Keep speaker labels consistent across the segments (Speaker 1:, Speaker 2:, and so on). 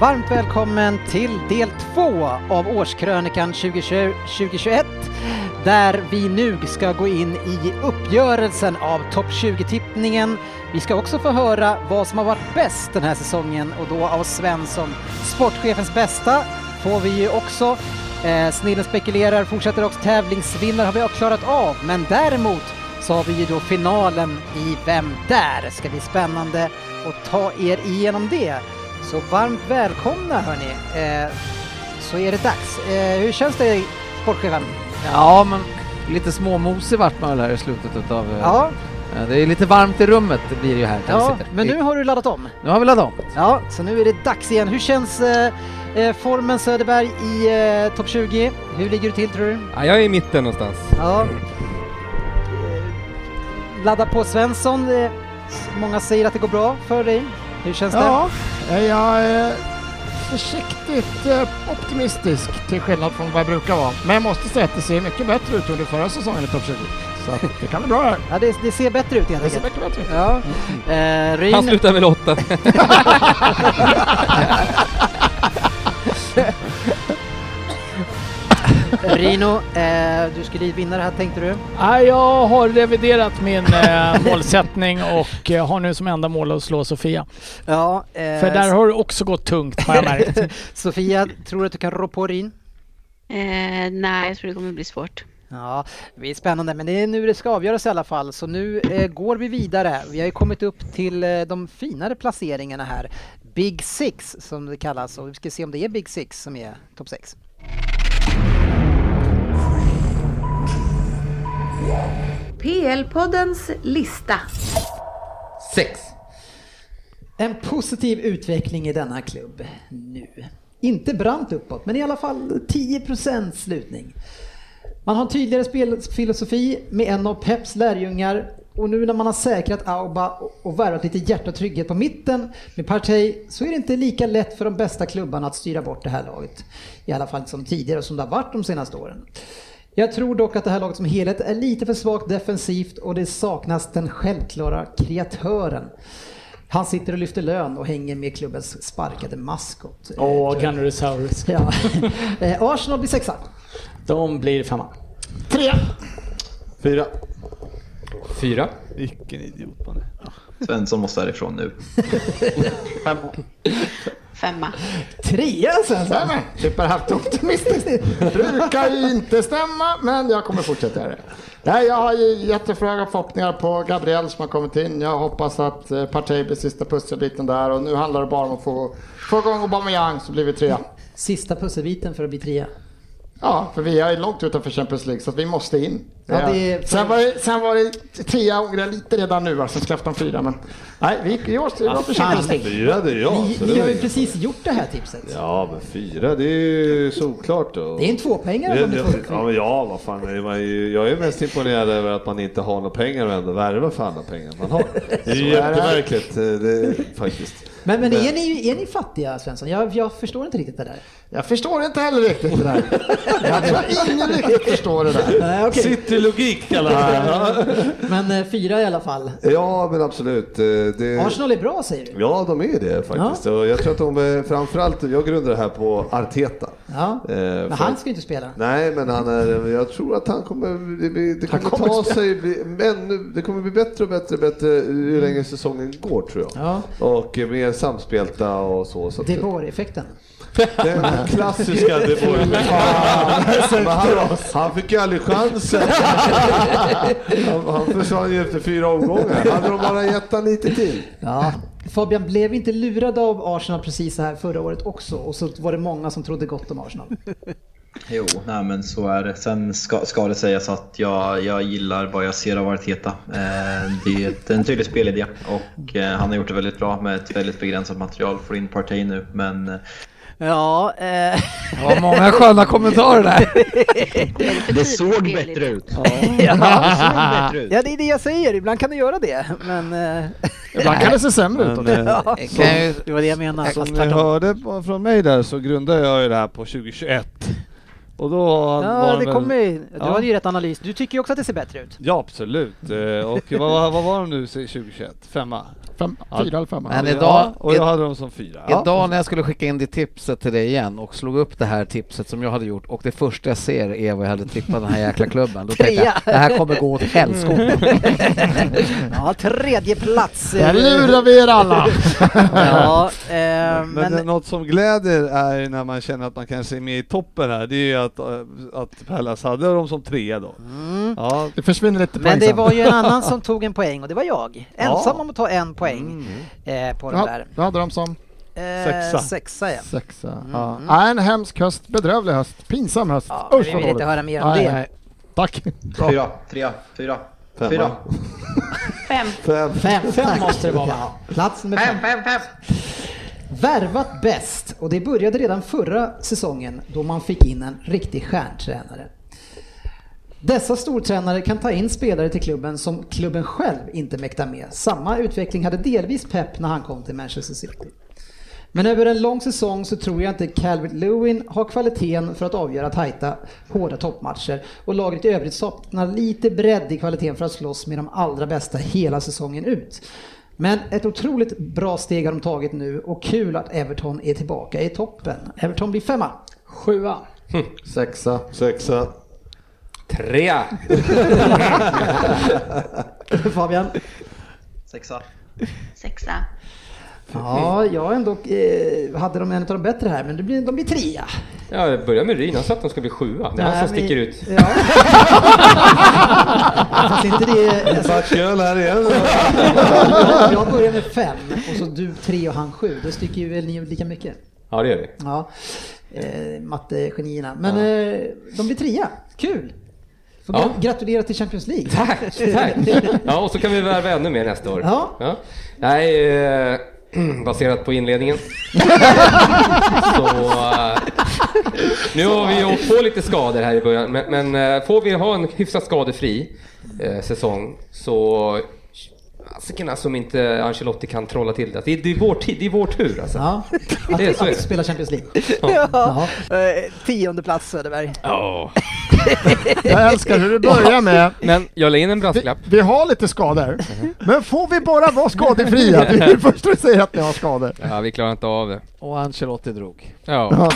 Speaker 1: Varmt välkommen till del två av årskrönikan 2020 2021 där vi nu ska gå in i uppgörelsen av topp 20-tippningen. Vi ska också få höra vad som har varit bäst den här säsongen och då av Svensson. Sportchefens bästa får vi ju också. Eh, Snillen spekulerar fortsätter också. Tävlingsvinnare har vi klarat av men däremot så har vi ju då finalen i Vem där? Det ska bli spännande att ta er igenom det. Så varmt välkomna hörni. Eh, så är det dags. Eh, hur känns det sportchefen?
Speaker 2: Ja, men lite småmosig vart man väl här i slutet utav... eh,
Speaker 1: Ja,
Speaker 2: eh, Det är lite varmt i rummet det blir ju här där vi
Speaker 1: ja
Speaker 2: sitter.
Speaker 1: men
Speaker 2: Vi-
Speaker 1: nu har du laddat om.
Speaker 2: nu har vi laddat om.
Speaker 1: Ja, så nu är det dags igen. Hur känns eh, eh, formen Söderberg i eh, topp 20? Hur ligger du till tror du?
Speaker 3: Ja, jag är i mitten någonstans.
Speaker 1: Ja. Eh, Ladda på Svensson. Eh, s- många säger att det går bra för dig. Hur känns
Speaker 4: Ja, eh, jag är försiktigt eh, optimistisk till skillnad från vad jag brukar vara. Men jag måste säga att det ser mycket bättre ut under förra säsongen i Topp 20. Så att det kan bli bra här.
Speaker 1: det? Ja, det, det ser bättre ut helt
Speaker 4: Det ser
Speaker 1: enkelt.
Speaker 4: mycket bättre ut.
Speaker 1: Ja. Eh, Ryn.
Speaker 3: Han slutar väl åtta.
Speaker 1: Rino, eh, du skulle vinna det här tänkte du?
Speaker 5: Ja, jag har reviderat min eh, målsättning och eh, har nu som enda mål att slå Sofia.
Speaker 1: Ja, eh,
Speaker 5: För där har det också gått tungt har jag märkt.
Speaker 1: Sofia, tror du att du kan rå på Rin?
Speaker 6: Eh, nej, jag tror det kommer bli svårt.
Speaker 1: Ja, det är spännande, men det är nu det ska avgöras i alla fall. Så nu eh, går vi vidare. Vi har ju kommit upp till eh, de finare placeringarna här. Big Six som det kallas och vi ska se om det är Big Six som är topp 6.
Speaker 7: PL-poddens lista.
Speaker 2: Sex.
Speaker 1: En positiv utveckling i denna klubb nu. Inte brant uppåt, men i alla fall 10 slutning. Man har en tydligare spelfilosofi med en av Peps lärjungar och nu när man har säkrat Auba och värvat lite hjärta och trygghet på mitten med Partey så är det inte lika lätt för de bästa klubbarna att styra bort det här laget. I alla fall som tidigare och som det har varit de senaste åren. Jag tror dock att det här laget som helhet är lite för svagt defensivt och det saknas den självklara kreatören. Han sitter och lyfter lön och hänger med klubbens sparkade maskot.
Speaker 5: Åh, Gunnerosaurus.
Speaker 1: Ja. Eh, Arsenal blir sexa.
Speaker 8: De blir femma.
Speaker 4: Tre!
Speaker 9: Fyra.
Speaker 3: Fyra.
Speaker 9: Vilken idiot man är.
Speaker 10: Svensson måste härifrån nu.
Speaker 6: Femma.
Speaker 1: Trea sen! så.
Speaker 4: Stämmer! Superhaft optimistiskt. Brukar ju inte stämma, men jag kommer fortsätta göra det. Nej, jag har ju jättefröga förhoppningar på Gabriel som har kommit in. Jag hoppas att eh, Partey blir sista pusselbiten där och nu handlar det bara om att få, få igång Aubameyang så blir vi trea.
Speaker 1: Sista pusselbiten för att bli trea.
Speaker 4: Ja, för vi är långt utanför Champions League så att vi måste in.
Speaker 1: Ja, det är-
Speaker 4: Eh, Sen var det, sen var det trea, ångrar lite redan nu va, sen släppte de fyra. Men nej, vi gick i år så det var för Champions League.
Speaker 9: Fyra det är jag.
Speaker 1: alltså, Ni,
Speaker 9: så det
Speaker 1: ni har
Speaker 9: är-
Speaker 1: ju precis gjort det här tipset.
Speaker 9: Ja men fyra det är ju solklart. Och...
Speaker 1: Det är en tvåpoängare om du
Speaker 9: Ja, ja,
Speaker 1: får
Speaker 9: men ja, vad fan. är man ju- Jag är mest imponerad över att man inte har några pengar och ändå värvar för alla pengar man har. Det är ju
Speaker 4: Så är det.
Speaker 9: jättemärkligt eh, det, faktiskt.
Speaker 1: Men, men är, ni, är ni fattiga Svensson? Jag, jag förstår inte riktigt det där.
Speaker 4: Jag förstår inte heller riktigt det där. Jag tror ingen riktigt förstår det där.
Speaker 1: Nej, okej.
Speaker 9: Citylogik kallar det
Speaker 1: Men eh, fyra i alla fall.
Speaker 9: Ja men absolut. eh, Det...
Speaker 1: Arsenal är bra säger du?
Speaker 9: Ja, de är det faktiskt. Och jag tror att de är, framförallt, jag grundar det här på Arteta.
Speaker 1: Ja.
Speaker 9: Eh,
Speaker 1: Men
Speaker 9: för-
Speaker 1: han ska ju inte spela.
Speaker 9: Nej, men han är, jag tror att han kommer, det, blir- det
Speaker 4: Han
Speaker 9: kommer,
Speaker 4: kommer
Speaker 9: ta sig, bli, men nu- det kommer bli bättre och bättre och bättre ju längre säsongen går tror jag.
Speaker 1: Mm. Ja.
Speaker 9: Och eh, mer samspelta och så. så att-
Speaker 1: Det var effekten.
Speaker 9: den klassiska De Boer. Men han, han fick ju aldrig chansen. Han, han försvann ju efter fyra omgångar. Hade de bara gett han lite till.
Speaker 1: Ja. Fabian, blev inte lurad av Arsenal precis så här förra året också? Och så var det många som trodde gott om Arsenal.
Speaker 10: Jo, nej men så är det. Sen ska, ska det sägas att jag, jag gillar vad jag ser av Arteta. Eh, det är ett- en tydlig spelidé och eh, han har gjort det väldigt bra med ett väldigt begränsat material. Får in Partey nu, men eh,
Speaker 1: Ja, eh...
Speaker 2: Ja, många sköna kommentarer där.
Speaker 10: det såg bättre ut. Det såg
Speaker 1: ja.
Speaker 10: bättre ut.
Speaker 1: ja, det är det jag säger. Ibland kan det göra det, men... eh,
Speaker 4: Ibland kan det se sämre ut.
Speaker 9: Men,
Speaker 4: också.
Speaker 9: eh,
Speaker 1: ja,
Speaker 2: Kan jag ju-
Speaker 1: det var det jag menade.
Speaker 9: Som
Speaker 1: Fast
Speaker 9: ni
Speaker 1: tvärtom.
Speaker 9: hörde på- från mig där så grundade jag ju det här på 2021. Och då var
Speaker 1: Ja,
Speaker 9: den
Speaker 1: det
Speaker 9: väl-
Speaker 1: kommer ju. Du
Speaker 9: Ja.
Speaker 1: hade ju rätt analys. Du tycker ju också att det ser bättre ut.
Speaker 9: Ja, absolut. Eh, Och vad, vad, vad var de nu se- 2021? Femma?
Speaker 4: Fem,
Speaker 9: Ja.
Speaker 4: fyra eller femma.
Speaker 2: Men idag-
Speaker 9: ja, och jag
Speaker 2: i-
Speaker 9: hade dem som fyra. Ja.
Speaker 2: Idag när jag skulle skicka in det tipset till dig igen och slog upp det här tipset som jag hade gjort och det första jag ser är vad jag hade tippat den här jäkla klubben. Då tänkte jag,
Speaker 1: Trea.
Speaker 2: det här kommer gå åt helskotta.
Speaker 1: Mm. Ja, tredje plats.
Speaker 4: Där lurar vi er alla.
Speaker 1: Ja, eh,
Speaker 9: Men,
Speaker 1: men...
Speaker 9: något som gläder är ju när man känner att man kanske är med i toppen här, det är ju att, eh, att Pallas hade dem som trea då.
Speaker 1: Mm.
Speaker 9: Ja,
Speaker 4: Det försvinner lite
Speaker 1: Men
Speaker 4: poäng
Speaker 1: det
Speaker 4: sen.
Speaker 1: var ju en annan som tog en poäng och det var jag. Ensam
Speaker 9: Ja.
Speaker 1: om att ta en poäng
Speaker 7: Mm.
Speaker 1: eh, på den
Speaker 4: Ja,
Speaker 1: där.
Speaker 4: Då hade de som
Speaker 1: Eh,
Speaker 9: Sexa.
Speaker 1: Sexa ja. Mm,
Speaker 4: sexa. Ja. Nej, en hemsk höst, bedrövlig höst, pinsam höst.
Speaker 1: ja men
Speaker 4: Usch
Speaker 1: vi
Speaker 4: vad
Speaker 1: vill inte
Speaker 4: dåligt.
Speaker 1: höra mer om
Speaker 4: Nej,
Speaker 1: det.
Speaker 4: nej. Tack.
Speaker 10: Fyra, trea, fyra,
Speaker 9: Femma.
Speaker 10: fyra.
Speaker 6: Fem.
Speaker 9: fem.
Speaker 7: Fem, fem måste det vara va? Plats nummer fem. Värvat bäst och det började redan förra säsongen då man fick in en riktig stjärntränare. Dessa stortränare kan ta in spelare till klubben som klubben själv inte mäktar med. Samma utveckling hade delvis Pep när han kom till Manchester City. Men över en lång säsong så tror jag inte Calvert Lewin har kvaliteten för att avgöra tajta, hårda toppmatcher och laget i övrigt saknar lite bredd i kvaliteten för att slåss med de allra bästa hela säsongen ut. Men ett otroligt bra steg har de tagit nu och kul att Everton är tillbaka i toppen. Everton blir femma. Sjua.
Speaker 4: Sexa.
Speaker 9: Sexa.
Speaker 3: Trea!
Speaker 7: Fabian?
Speaker 10: Sexa.
Speaker 6: Sexa.
Speaker 7: Ja, jag ändå eh, hade de en av de bättre här, men det blir, de blir trea.
Speaker 3: Ja, det börjar med Ryn. Han sa att de ska bli sjua. Det är han
Speaker 7: Nej,
Speaker 3: som
Speaker 7: men-
Speaker 3: sticker ut.
Speaker 7: Ja. Fast inte det... Alltså,
Speaker 9: Svart öl här igen.
Speaker 7: jag börjar med fem och så du tre och han sju. Då sticker ju väl ni ut lika mycket.
Speaker 3: Ja, det gör vi.
Speaker 7: Ja, eh, mattegenierna. Men eh, de blir trea. Kul! Får
Speaker 3: Ja.
Speaker 7: gra- Gratulera till Champions League.
Speaker 3: Tack, tack! Ja, och så kan vi värva ännu mer nästa år.
Speaker 7: Ja.
Speaker 3: Nej, eh, baserat på inledningen. så... Eh, nu har vi ju åkt på lite skador här i början, men, men eh, får vi ha en hyfsat skadefri eh, säsong så... Fasiken som inte Ancelotti kan trolla till det. Det är, det är, vår, tid, det är vår tur alltså.
Speaker 7: Ja, att,
Speaker 3: Det är så.
Speaker 7: att spela Champions League.
Speaker 1: Ja. Eh, Tionde plats Söderberg.
Speaker 3: Ja.
Speaker 4: Jag älskar hur du börjar med
Speaker 3: Men jag la in en
Speaker 4: vi,
Speaker 3: brasklapp. Mhm.
Speaker 4: vi har lite skador, men får vi bara vara skadefria? Det är det första du säger att ni har skador.
Speaker 3: Ja, vi klarar inte av det.
Speaker 2: Och Ancelotti drog.
Speaker 3: Ja,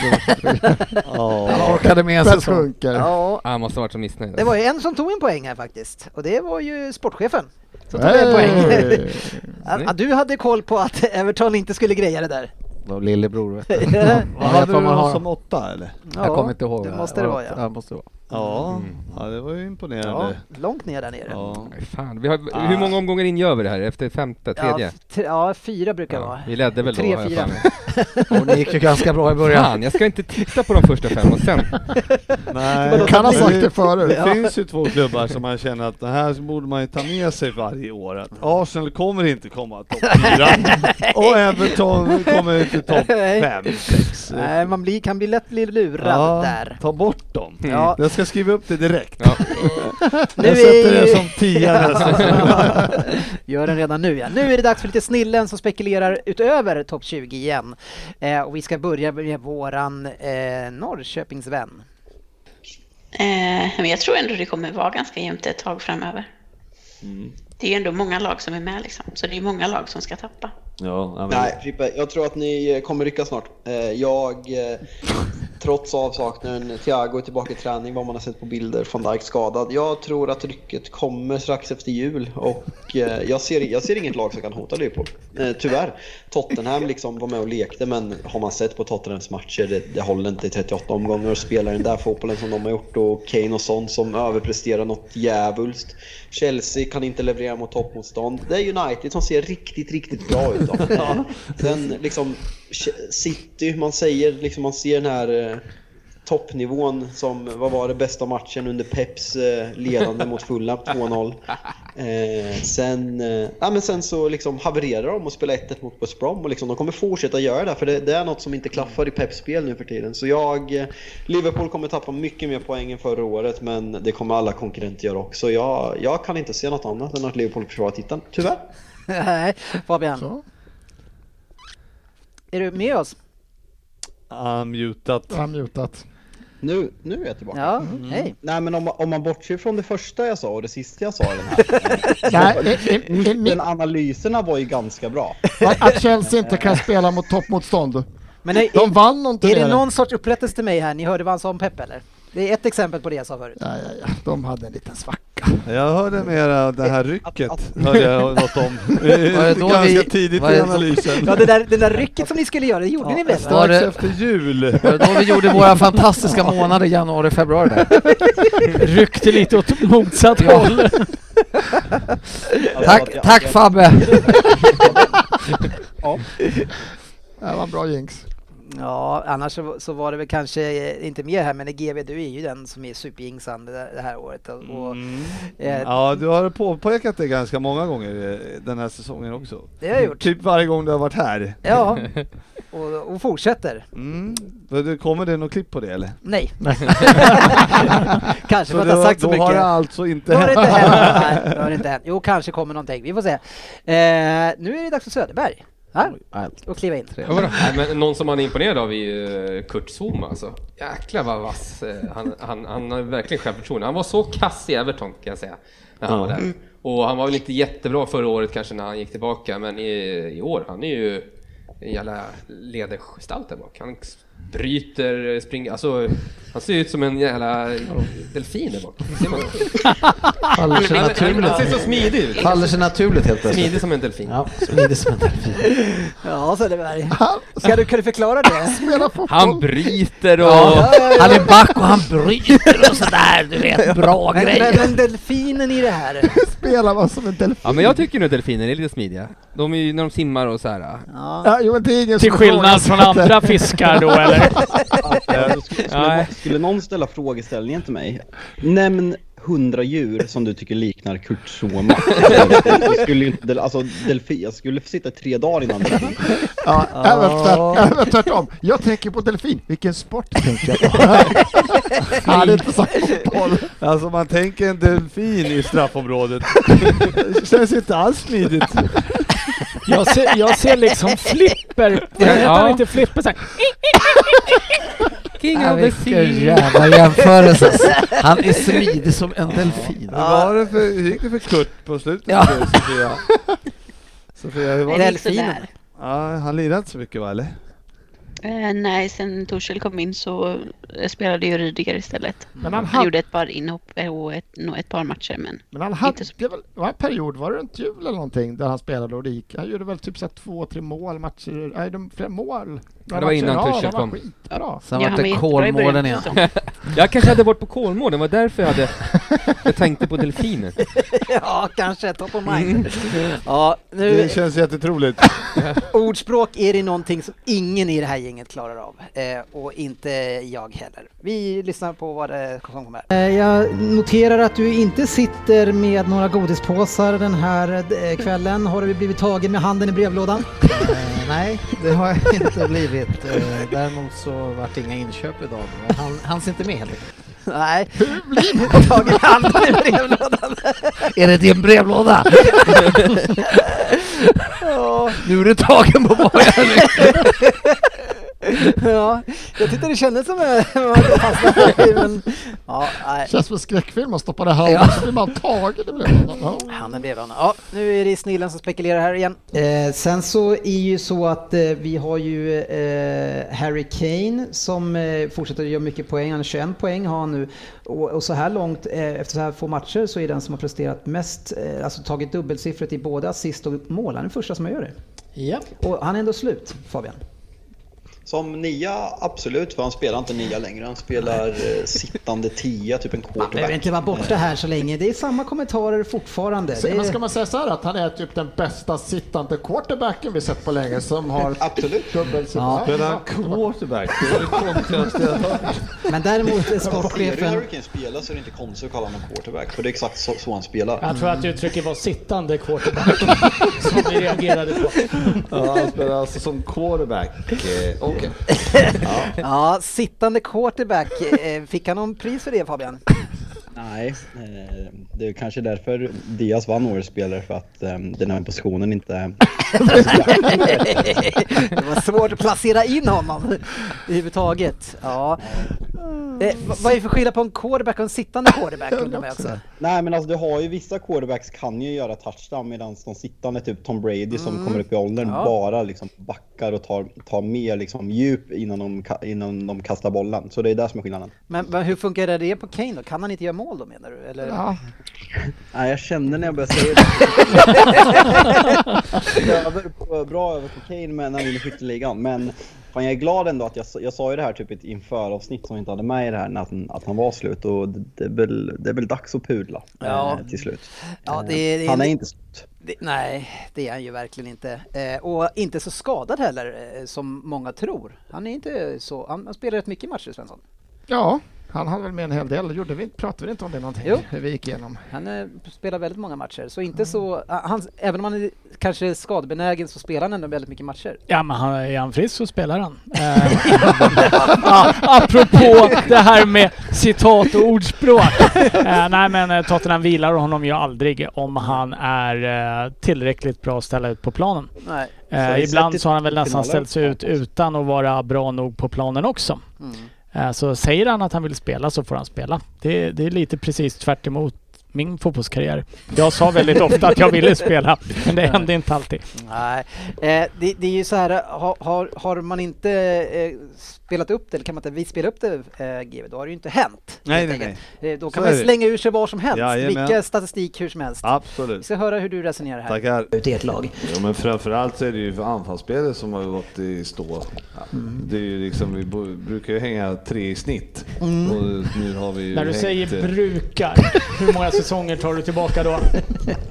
Speaker 2: Han orkade med en
Speaker 4: Fett
Speaker 2: säsong.
Speaker 4: sjunker.
Speaker 1: Ja,
Speaker 3: han måste ha varit så missnöjd.
Speaker 1: det var ju en som tog en poäng här faktiskt och det var ju sportchefen. Så tog en poäng.
Speaker 4: Hey.
Speaker 1: Ja, du hade koll på att Everton inte skulle greja det där.
Speaker 2: Då Lillebror vet du.
Speaker 9: Hade du
Speaker 2: vad man
Speaker 9: dem
Speaker 2: har.
Speaker 9: som åtta eller?
Speaker 1: Ja,
Speaker 2: Jag kommer inte ihåg.
Speaker 1: Det
Speaker 2: vad-
Speaker 1: måste det vara ja.
Speaker 2: Ja, måste det vara.
Speaker 9: Ja, ja det var ju
Speaker 1: ja.
Speaker 9: imponerande.
Speaker 1: Långt ner där nere.
Speaker 9: Ja.
Speaker 3: Nej, Fan, vi har, Hur många omgångar in gör vi det här? Efter femte,
Speaker 1: Ja,
Speaker 3: tredje?
Speaker 1: f- tre- ja, fyra brukar det
Speaker 3: Ja,
Speaker 1: vara.
Speaker 3: vi ledde väl
Speaker 1: Tre,
Speaker 3: då, har jag
Speaker 1: fyra.
Speaker 3: för mig.
Speaker 2: Och det gick ju ganska bra i början.
Speaker 3: Fan, jag ska inte titta på de första fem och sen...
Speaker 9: Nej,
Speaker 4: Du kan ha sagt det
Speaker 9: Det
Speaker 4: förut.
Speaker 9: finns ju två klubbar som man känner att det här borde man ju ta med sig varje år. Att Arsenal kommer inte komma topp fyra och Everton kommer inte topp
Speaker 1: Nej.
Speaker 9: fem, sex.
Speaker 1: Nej, man blir, kan bli lätt bli lurad
Speaker 9: Ja,
Speaker 1: där.
Speaker 9: Ta bort dem.
Speaker 1: Ja.
Speaker 9: Jag ska skriva upp det direkt.
Speaker 3: Ja.
Speaker 1: Nu är
Speaker 9: Jag sätter
Speaker 1: ju-
Speaker 9: det som tia nästa säsong.
Speaker 1: Gör den redan nu ja. Nu är det dags för lite snillen som spekulerar utöver topp 20 igen. Eh, och vi ska börja med våran eh, Norrköpingsvän.
Speaker 6: Eh, men jag tror ändå det kommer vara ganska jämnt ett tag framöver.
Speaker 10: Mm.
Speaker 6: Det är ju ändå många lag som är med liksom, så det är många lag som ska tappa.
Speaker 9: Ja, ja, men-
Speaker 11: Nej, Frippe, jag tror att ni eh, kommer rycka snart. Eh, Jag, eh, trots avsaknaden, Thiago är tillbaka i träning, vad man har sett på bilder, van Dijk skadad. Jag tror att rycket kommer strax efter jul och eh, jag ser, jag ser inget lag som kan hota Liverpool. Eh, Tyvärr. Tottenham liksom var med och lekte, men har man sett på Tottenhams matcher, det, det håller inte i 38 omgångar och spelar den där fotbollen som de har gjort och Kane och sånt som överpresterar något djävulskt. Chelsea kan inte leverera mot toppmotstånd. Det är United som ser riktigt, riktigt bra ut. Då. Sen liksom Ch- City, man säger liksom, man ser den här eh, toppnivån som, vad var det, bästa matchen under Peps eh, ledande mot Fulham 2-0. Eh, sen, eh, ja, men sen så liksom havererar de och spelar 1-1 mot West Brom och liksom, de kommer fortsätta göra det här, för det, det är något som inte klaffar i Peps spel nu för tiden. Så jag, eh, Liverpool kommer tappa mycket mer poäng än förra året men det kommer alla konkurrenter göra också. Jag, jag kan inte se något annat än att Liverpool försvarar titeln, tyvärr.
Speaker 1: Nej, Fabian. Är du med oss?
Speaker 9: Ah,
Speaker 11: Unmutat.
Speaker 4: Unmutat.
Speaker 11: Nu, nu är jag tillbaka.
Speaker 1: Ja, hej.
Speaker 11: Nej men om, man- om man bortser från det första jag sa och det sista jag sa i den här.
Speaker 4: Nej, eh, eh, eh,
Speaker 11: den analyserna var ju ganska bra.
Speaker 4: Att, att Chelsea inte kan spela mot toppmotstånd.
Speaker 1: Men eh, är,
Speaker 4: De vann någon
Speaker 1: Är det
Speaker 4: turnering.
Speaker 1: någon sorts upprättelse till mig här? Ni hörde vad han sa om Pep eller? Det är ett exempel på det jag sa förut.
Speaker 4: Ja, ja, ja. De hade en liten svacka.
Speaker 9: Jag hörde mera det här rycket, hörde jag något om. Ganska tidigt i analysen.
Speaker 1: Ja, det där, det där rycket som ni skulle göra, det gjorde ni väl?
Speaker 9: Strax efter jul.
Speaker 2: Var det då vi gjorde våra fantastiska månader januari, februari där?
Speaker 5: Ryckte lite åt motsatt
Speaker 2: Ja.
Speaker 5: håll.
Speaker 11: Alltså,
Speaker 2: Tack, tack Fabbe!
Speaker 4: Ja. Det var en bra jinx.
Speaker 1: Ja, annars så, så var det väl kanske eh, inte mer här, men GB, du är ju den som är superjinxande det det här året. Och, och, eh,
Speaker 9: Ja, du har påpekat det ganska många gånger eh, den här säsongen också.
Speaker 1: Det har jag gjort.
Speaker 9: Typ varje gång du har varit här.
Speaker 1: ja, och, och fortsätter.
Speaker 9: Mm. Men det- Kommer det något klipp på det eller?
Speaker 1: Nej. kanske för att Alltså,
Speaker 9: Så
Speaker 1: jag
Speaker 9: då-
Speaker 1: har sagt så
Speaker 9: då
Speaker 1: mycket.
Speaker 9: har det alltså inte
Speaker 1: Då har det
Speaker 9: hänt.
Speaker 1: inte hänt. Nej, då har det inte hänt. Jo, kanske kommer någonting. Vi får se. Eh, nu är det dags för Söderberg. Ja? Och kliva in.
Speaker 3: Nej, men någon som man är imponerad av är ju Kurt Zouma alltså. Jäklar vad vass. eh, Han, han, han har verkligen självförtroende. Han var så kass i Everton kan jag säga. När han var där.
Speaker 12: Mm.
Speaker 3: Och han var väl inte jättebra förra året kanske när han gick tillbaka. Men i, i år, han är ju en jävla ledargestalt där bak. Han bryter, springer, alltså han ser ut som en jävla delfin där bak. Ser man
Speaker 2: Faller
Speaker 3: Han-
Speaker 2: sig
Speaker 3: han-
Speaker 2: naturligt.
Speaker 3: Han ser så smidig ut.
Speaker 2: Faller sig naturligt helt plötsligt.
Speaker 3: Smidig som en delfin.
Speaker 2: Ja, smidig som en delfin.
Speaker 1: Ja, Söderberg. Ska du, kan du förklara det?
Speaker 3: Han bryter och...
Speaker 2: Ja, Han är back och han bryter och sådär, du vet, bra
Speaker 1: men,
Speaker 2: grejer.
Speaker 1: Men delfinen i det här.
Speaker 4: Spelar man som en delfin.
Speaker 12: Ja men jag tycker nu delfiner är lite smidiga. De är ju när de simmar och så här. ah,
Speaker 4: Ja, jo, men det är ingen
Speaker 5: Till
Speaker 4: som
Speaker 5: skillnad från
Speaker 4: ifrågasätter.
Speaker 5: andra fiskar då eller?
Speaker 11: Alltså, skulle, skulle, skulle någon ställa frågeställningen till mig? Nämn 100 djur som du tycker liknar Kurt Zuma. Jag skulle, inte, del- alltså, delfi, jag skulle sitta tre dagar innan delfin.
Speaker 4: Ja, även, tvärt, även tvärtom. Jag tänker på delfin. Vilken sport tänker jag på? Jag hade inte sagt fotboll.
Speaker 9: Alltså man tänker en delfin i straffområdet. Det känns inte alls smidigt.
Speaker 5: Jag ser, jag ser liksom flipper.
Speaker 9: Ja.
Speaker 5: Heter han inte flipper så här.
Speaker 12: King
Speaker 2: Ja, vilken jävla jämförelse alltså. Han är smidig som en delfin.
Speaker 9: Hur var det för, hur gick det för Kurt på slutet
Speaker 2: Ja.
Speaker 9: för Sofia? Sofia, hur var det?
Speaker 6: Det gick sådär. Delfinen.
Speaker 9: Ja, han lirade inte så mycket va eller?
Speaker 6: Eh, nej, sen Torshäll kom in så eh, spelade ju Rydiger istället.
Speaker 4: Men han
Speaker 6: han
Speaker 4: hade-
Speaker 6: gjorde ett par inhopp eh, och ett, nog ett par matcher men...
Speaker 4: Men han hade väl, det var en period, var det runt jul eller någonting, där han spelade och det gick. Han gjorde väl typ så här två, tre mål, matcher, nej, de, flera mål.
Speaker 3: det var innan Tuchel kom.
Speaker 4: kom. Skitbra.
Speaker 2: Sen vart det Kolmården igen.
Speaker 12: Jag kanske hade varit på Kolmården, det var därför jag hade... Jag tänkte på delfiner.
Speaker 1: ja, kanske. Top of mind. Ja, nu-
Speaker 9: Det känns jättetroligt.
Speaker 1: Ordspråk är det någonting som ingen i det här gänget klarar av. Eh, och inte jag heller. Vi lyssnar på vad det som kommer.
Speaker 7: Eh, Jag noterar att du inte sitter med några godispåsar den här eh, kvällen. Har du blivit tagen med handen i brevlådan?
Speaker 13: Nej, det har jag inte blivit. Eh, Däremot så vart det inga inköp idag. men Han hanns inte med helt enkelt.
Speaker 1: Nej. Hur blir det tagen i handen i brevlådan?
Speaker 2: Är det din brevlåda?
Speaker 1: ja.
Speaker 2: Nu är du tagen på borgen.
Speaker 1: ja, jag tyckte det kändes som att jag hade fastnat i, men... Ja, nej.
Speaker 4: Känns som en skräckfilm, man stoppar det här så blir man tagen. Det blir ja.
Speaker 1: Handen blev Mm. han. Ja, nu är det snillen som spekulerar här igen.
Speaker 7: Eh, sen så är ju så att eh, vi har ju eh, Harry Kane som eh, fortsätter att göra mycket poäng. Han har 21 poäng har han nu. Och, och så här långt, eh, efter så här få matcher, så är den som har presterat mest, eh, alltså tagit dubbelsiffrigt i både assist och mål. Han är den första som gör det.
Speaker 13: Ja.
Speaker 7: Och han är ändå slut, Fabian.
Speaker 11: Som nia, absolut, för han spelar inte nia längre. Han spelar eh, sittande tia, typ en quarterback. Eh,
Speaker 7: Behöver inte vara borta här så länge. Det är samma kommentarer fortfarande.
Speaker 4: Så-
Speaker 7: Det
Speaker 4: Men ska
Speaker 7: är...
Speaker 4: man säga så här att han är typ den bästa sittande quarterbacken vi sett på länge som har
Speaker 11: Absolut.
Speaker 4: dubbel
Speaker 7: Ja.
Speaker 9: Men han quarterback, det är det konstigaste jag har hört.
Speaker 7: Men däremot är
Speaker 11: Ser du
Speaker 7: sportchefen...
Speaker 11: Hurricane spela så är det inte konstigt att kalla honom quarterback, för det är exakt så, så han spelar.
Speaker 7: Jag tror att du-
Speaker 5: Uttrycket var sittande quarterback som vi reagerade på.
Speaker 9: Ja, han spelar alltså som quarterback. Eh, Okej.
Speaker 1: Ja, sittande quarterback. Eh, Fick han någon pris för det Fabian?
Speaker 11: Nej, eh, det är kanske därför Diaz vann årets spelare, för att eh, den här positionen inte...
Speaker 1: Det var svårt att placera in honom överhuvudtaget. Ja. Eh, v- vad är det för skillnad på en quarterback och en sittande quarterback undrar man också.
Speaker 11: Nej men alltså du har ju vissa quarterbacks kan ju göra touchdown medan de sittande, typ Tom Brady som
Speaker 1: Mm.
Speaker 11: kommer upp i åldern,
Speaker 1: Ja.
Speaker 11: bara liksom backar och tar, tar mer liksom djup innan de, ka- innan de kastar bollen. Så det är där som är skillnaden.
Speaker 1: Men, men hur funkar det på Kane då? Kan han inte göra mål då menar du? Eller?
Speaker 11: Ja. Nej, jag kände när jag började säga det. över på, bra över på Kane men när han vinner skytteligan. Men fan, jag är glad ändå att jag, sa- jag sa ju det här typ i ett införavsnitt som vi inte hade med i det här, när att, han- att han var slut. Och det, det, är väl, det är väl dags att pudla
Speaker 1: Ja.
Speaker 11: eh, till slut.
Speaker 1: Ja,
Speaker 11: Eh,
Speaker 1: det- det-
Speaker 11: han är inte slut.
Speaker 1: Det, nej, det är han ju verkligen inte. Eh, och inte så skadad heller eh, som många tror. Han är inte så... Han, han spelar rätt mycket matcher Svensson.
Speaker 4: Ja, han hade väl med en hel del. Gjorde vi, pratade vi inte om det någonting?
Speaker 1: Jo.
Speaker 4: Hur vi gick igenom.
Speaker 1: Han eh, spelar väldigt många matcher, så inte
Speaker 9: Mm.
Speaker 1: så... ah, Han, även om han är kanske är skadebenägen så spelar han ändå väldigt mycket matcher.
Speaker 5: Ja men han, är han frisk så spelar han. Eh, ja, apropå det här med citat och ordspråk. Eh, nej men eh, Tottenham vilar honom ju aldrig om han är eh, tillräckligt bra att ställa ut på planen.
Speaker 1: Nej.
Speaker 5: Eh,
Speaker 1: Så
Speaker 5: ibland
Speaker 1: sett
Speaker 5: så har han väl
Speaker 1: i
Speaker 5: nästan
Speaker 1: finalen.
Speaker 5: ställt sig ut utan att vara bra nog på planen också.
Speaker 1: Mm.
Speaker 5: Eh, så säger han att han vill spela så får han spela. Det, det är lite precis tvärt emot min fotbollskarriär. Jag sa väldigt ofta att jag ville spela, men det hände inte alltid.
Speaker 1: Nej, eh, det, det är ju så här, har, har, har man inte eh, spelat upp det, eller kan man inte vi spela upp det, eh, GW, då har det ju inte hänt.
Speaker 9: Nej,
Speaker 1: helt
Speaker 9: nej,
Speaker 1: enkelt.
Speaker 9: nej.
Speaker 1: Eh, Då
Speaker 9: Så
Speaker 1: kan
Speaker 9: är
Speaker 1: man
Speaker 9: det.
Speaker 1: slänga ur sig vad som helst,
Speaker 9: Jajamän.
Speaker 1: vilka statistik hur som helst. Vi
Speaker 9: Absolut.
Speaker 1: ska höra hur du resonerar här.
Speaker 9: Tackar.
Speaker 7: Ut i ett lag.
Speaker 9: Ja, men framförallt så är det ju för anfallsspelet som har gått i stå. Det är ju liksom, vi bo- brukar ju hänga tre i snitt.
Speaker 5: Mm.
Speaker 9: Och nu har vi ju
Speaker 5: När du
Speaker 9: hängt,
Speaker 5: säger
Speaker 9: eh,
Speaker 5: brukar, hur många säsonger tar du tillbaka då?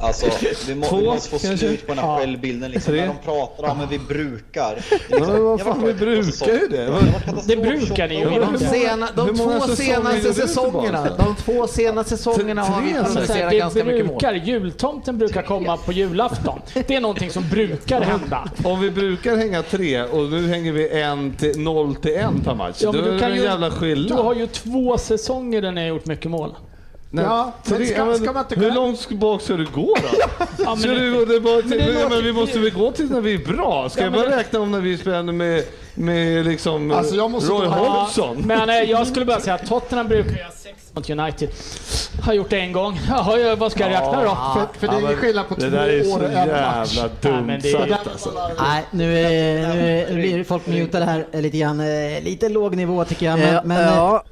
Speaker 11: Alltså, vi, må, vi
Speaker 5: Två,
Speaker 11: måste få
Speaker 5: kanske?
Speaker 11: slut på den här
Speaker 5: Ja.
Speaker 11: självbilden liksom.
Speaker 5: Tre.
Speaker 11: När de pratar om att vi brukar. Det är
Speaker 9: Ja,
Speaker 11: liksom-
Speaker 9: men vad
Speaker 11: jag
Speaker 9: fan,
Speaker 11: var
Speaker 9: vi
Speaker 11: sjuk på
Speaker 9: brukar ju det.
Speaker 11: säsongen. var katastrof-
Speaker 5: Det brukar ni ju.
Speaker 11: De sena- de
Speaker 9: Hur många
Speaker 11: två
Speaker 9: säsonger
Speaker 11: senaste
Speaker 9: är det du
Speaker 11: säsongerna,
Speaker 9: tillbaka?
Speaker 13: De två senaste säsongerna har vi
Speaker 9: Tre, alltså.
Speaker 13: producerat
Speaker 5: det
Speaker 13: ganska mycket mål.
Speaker 5: brukar, jultomten brukar komma på julafton. Det är någonting som brukar hända.
Speaker 9: Om vi brukar hänga tre och nu hänger vi en till, noll till en per match.
Speaker 5: Ja, men
Speaker 9: då är
Speaker 5: du,
Speaker 9: det
Speaker 5: kan
Speaker 9: en
Speaker 5: ju,
Speaker 9: jävla
Speaker 5: du
Speaker 9: skillnad.
Speaker 5: har ju två säsonger där ni har gjort mycket mål.
Speaker 9: Nej, tre- ja, men Hur långt ska- bak ska du gå då?
Speaker 5: Ja, men-
Speaker 9: ska du gå tillbaka till,
Speaker 5: men det
Speaker 9: men,
Speaker 5: låter-
Speaker 9: men vi måste väl gå till när vi är bra? Ska
Speaker 5: Ja,
Speaker 9: jag
Speaker 5: men
Speaker 9: bara
Speaker 5: det- Alltså,
Speaker 9: räkna om när vi spelade med, med liksom eh, Roy Hodgson?
Speaker 5: Ja, men eh, jag skulle bara säga att Tottenham brukar göra sex mot United. Har gjort det en gång. Jaha, ja, vad ska jag räkna då?
Speaker 4: För, för det är ingen skillnad på
Speaker 9: det
Speaker 4: två
Speaker 9: där är så
Speaker 4: år och en match.
Speaker 9: jävla dumt
Speaker 5: men det är-
Speaker 9: sagt alltså.
Speaker 7: Nej, nu, är, nu, är, nu blir folk mutade här eh, lite grann. Eh, Lite låg nivå tycker jag.
Speaker 1: Eh,
Speaker 7: Men, men, eh,
Speaker 1: ja,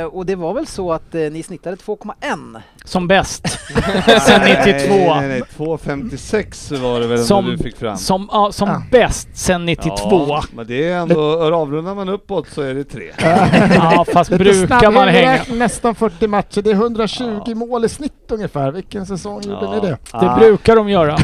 Speaker 1: eh, och det var väl så att eh, ni snittade 2,1?
Speaker 5: Som bäst. Sen 92.
Speaker 9: Nej, nej, nej. 2.56 var det väl som,
Speaker 5: Som,
Speaker 9: du fick fram.
Speaker 5: som, ja, som bäst sen 92.
Speaker 9: Ja, men det är ändå, avrundar man uppåt så är det tre.
Speaker 5: Ja, fast
Speaker 4: Lite
Speaker 5: brukar
Speaker 4: snabb
Speaker 5: man hänga?
Speaker 4: inräkning, Nästan 40 matcher. Det är 120 mål i snitt ungefär. Vilken säsong gjorde ni det?
Speaker 5: Det brukar de göra.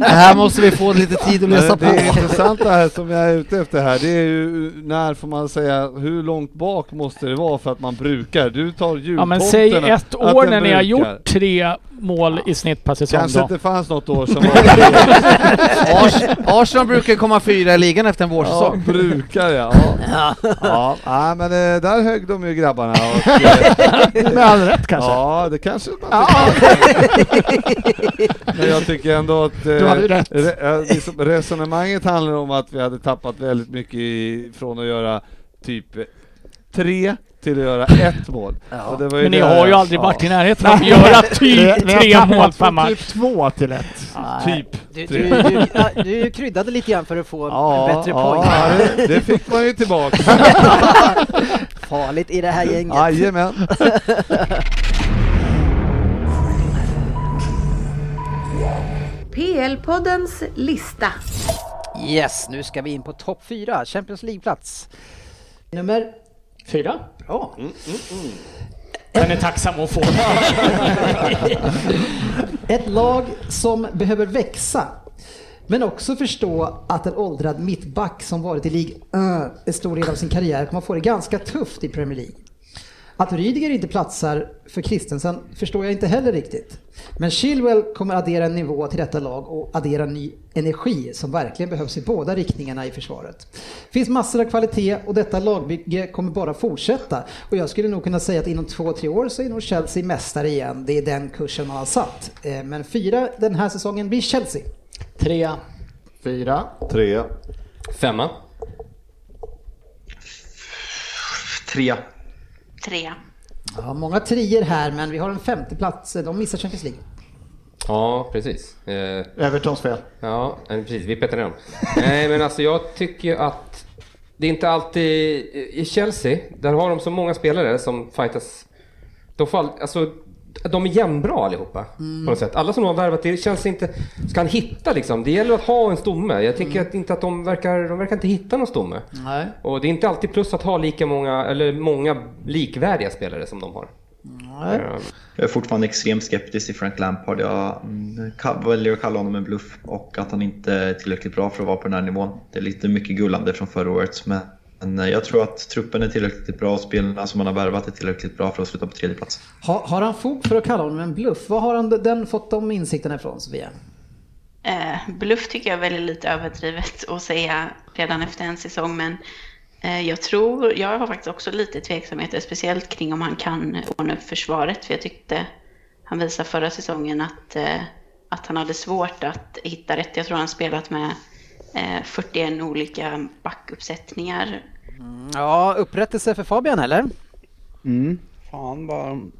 Speaker 13: Det här måste vi få lite tid att läsa
Speaker 9: Men Det
Speaker 13: på.
Speaker 9: intressanta här som jag är ute efter här, det är ju när får man säga, hur långt bak måste det vara för att man brukar? Du tar jultomterna.
Speaker 5: Ja, men säg ett
Speaker 9: att
Speaker 5: år
Speaker 9: den
Speaker 5: när ni har
Speaker 9: brukar.
Speaker 5: gjort tre mål i snitt per säsong
Speaker 9: Kanske
Speaker 5: då.
Speaker 9: inte fanns något år som var...
Speaker 13: Ars- Arsenal brukar komma fyra i ligan efter en
Speaker 9: Ja,
Speaker 13: vårsäsong.
Speaker 9: brukar jag. Ja. ja. ja, men eh, där högg de ju grabbarna. Och, eh,
Speaker 5: Med all rätt kanske.
Speaker 9: Ja, det kanske man Men jag tycker ändå att eh,
Speaker 4: Du hade ju rätt.
Speaker 9: re- eh, liksom resonemanget handlar om att vi hade tappat väldigt mycket i, från att göra typ eh, tre till att göra ett mål. Och det var ju
Speaker 5: Men ni
Speaker 9: det-
Speaker 5: har ju aldrig varit i närheten av att göra ty,
Speaker 4: Vi- vi har
Speaker 5: tre
Speaker 4: tappat
Speaker 5: mål per
Speaker 4: från
Speaker 5: match.
Speaker 4: Typ två till ett.
Speaker 9: Typ
Speaker 1: Du,
Speaker 9: tre.
Speaker 1: du, du, ja, du kryddade lite grann för att få en bättre poäng.
Speaker 9: ja det, det fick man ju tillbaka.
Speaker 1: Farligt i det här gänget.
Speaker 9: Jajamän.
Speaker 14: PL-poddens lista.
Speaker 15: Yes, nu ska vi in på topp fyra, Champions League-plats.
Speaker 1: Nummer?
Speaker 5: Fyra.
Speaker 1: Bra.
Speaker 9: Mm.
Speaker 5: Den är tacksam att få.
Speaker 1: Ett lag som behöver växa, men också förstå att en åldrad mittback som varit i Ligue 1 en stor del av sin karriär kommer att få det ganska tufft i Premier League. Att Rydiger inte platsar för Christensen förstår jag inte heller riktigt. Men Chilwell kommer addera en nivå till detta lag och addera ny energi som verkligen behövs i båda riktningarna i försvaret. Finns massor av kvalitet och detta lagbygge kommer bara fortsätta. Och jag skulle nog kunna säga att inom två, tre år så är nog Chelsea mästare igen. Det är den kursen man har satt. Eh, Men fyra den här säsongen blir Chelsea.
Speaker 4: Trea.
Speaker 16: Fyra.
Speaker 9: Tre.
Speaker 2: Femma.
Speaker 11: Tre.
Speaker 6: Trea.
Speaker 1: Ja, många trier här men vi har en femteplats. De missar Champions League.
Speaker 2: Ja, precis. Eh,
Speaker 16: Evertons fel.
Speaker 2: Ja, eh, precis. Vi petar dem. Nej, men alltså jag tycker att det är inte alltid... eh, I Chelsea, där har de så många spelare som fightas. De, får all, alltså, de är jämnbra allihopa
Speaker 17: Mm.
Speaker 2: på något sätt. Alla som de har värvat, det känns inte... Ska han hitta liksom? Det gäller att ha en stomme. Jag tycker att inte att de verkar... De verkar inte hitta någon stomme.
Speaker 1: Nej.
Speaker 2: Och det är inte alltid plus att ha lika många, eller många likvärdiga spelare som de har.
Speaker 11: Jag är fortfarande extremt skeptisk till Frank Lampard. Jag mm, ka- väljer att kalla honom en bluff och att han inte är tillräckligt bra för att vara på den här nivån. Det är lite mycket gullande från förra året. Men men eh, jag tror att truppen är tillräckligt bra och spelarna som man har värvat är tillräckligt bra för att sluta på tredje plats.
Speaker 1: Har, har han fog för att kalla honom en bluff? Var har han den fått de insikterna ifrån Sofia?
Speaker 6: Eh, bluff tycker jag är väldigt lite överdrivet att säga redan efter en säsong, men eh, jag tror, jag har faktiskt också lite tveksamheter, speciellt kring om han kan ordna upp försvaret, för jag tyckte han visade förra säsongen att, eh, att han hade svårt att hitta rätt. Jag tror han spelat med eh, 41 olika backuppsättningar
Speaker 15: Ja, upprättelse för Fabian eller?
Speaker 18: Mm. Fan vad...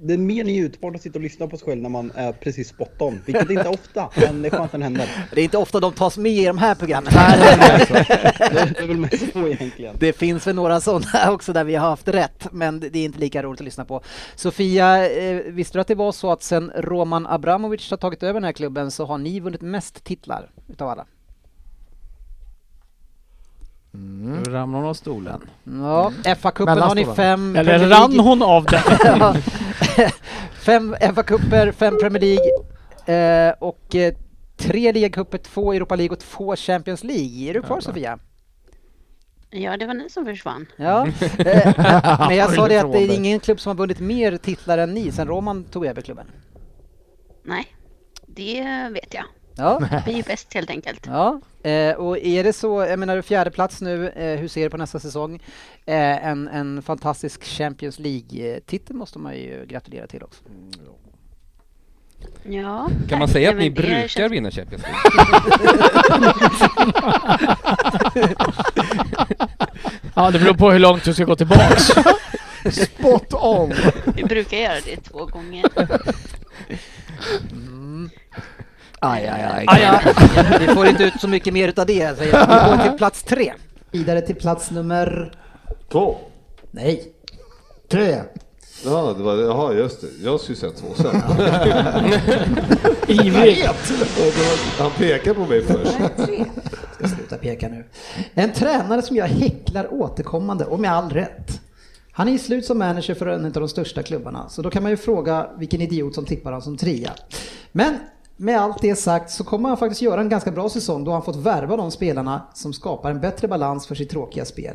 Speaker 18: Det är mer njutbart att sitta och lyssna på sig själv när man är precis spot on. Vilket inte är ofta, men det är skönt när det händer.
Speaker 15: Det är inte ofta de tas med i de här programmen.
Speaker 18: Det är väl mest så egentligen.
Speaker 15: Det finns väl några sådana också där vi har haft rätt, men det är inte lika roligt att lyssna på. Sofia, eh, visste du att det var så att sen Roman Abramovic har tagit över den här klubben så har ni vunnit mest titlar utav alla?
Speaker 19: Mm. Nu ramlar hon av stolen.
Speaker 15: Ja, FA-cupen
Speaker 19: Mm. Mellan
Speaker 15: har ni
Speaker 19: stolarna.
Speaker 15: fem...
Speaker 19: Eller
Speaker 15: Premier League-
Speaker 19: rann hon av den?
Speaker 15: Ja. fem FA-cuper, fem Premier League eh, och eh, tre ligacuper, två Europa League och två Champions League. Är du kvar Sofia?
Speaker 6: Ja, det var ni som försvann.
Speaker 15: Ja, eh, men jag sa det
Speaker 6: Skyll
Speaker 15: att det
Speaker 6: ifrån
Speaker 15: är
Speaker 6: dig.
Speaker 15: ingen klubb som har vunnit mer titlar än ni sen Roman tog över klubben.
Speaker 6: Nej, det vet jag.
Speaker 15: Ja.
Speaker 6: Vi är bäst helt enkelt.
Speaker 15: Ja, eh, och är det så, jag menar fjärde plats nu, eh, hur ser du på nästa säsong? Eh, en, en fantastisk Champions League-titel måste man ju gratulera till också.
Speaker 6: Ja,
Speaker 2: Kan man
Speaker 6: tack.
Speaker 2: säga att
Speaker 6: Nej,
Speaker 2: ni
Speaker 6: men det
Speaker 2: brukar
Speaker 6: känns-
Speaker 2: vinna Champions
Speaker 5: Ja, det beror på hur långt du ska gå tillbaks.
Speaker 9: Spot on!
Speaker 6: Vi brukar göra det två gånger.
Speaker 15: Aj, aj, aj. Ah, Vi får inte ut så mycket mer utav det. Säger jag. Vi går till plats tre.
Speaker 1: Vidare till plats nummer...
Speaker 9: Två.
Speaker 1: Nej.
Speaker 16: Tre.
Speaker 9: Ja, det var, jaha, just det. Jag skulle säga två sen.
Speaker 5: Ivrig.
Speaker 9: Han pekade på mig först.
Speaker 1: Ska sluta peka nu. En tränare som jag häcklar återkommande och med all rätt. Han är ju slut som manager för en av de största klubbarna, så då kan man ju fråga vilken idiot som tippar honom som trea. Men med allt det sagt så kommer han faktiskt göra en ganska bra säsong då han fått värva de spelarna som skapar en bättre balans för sitt tråkiga spel.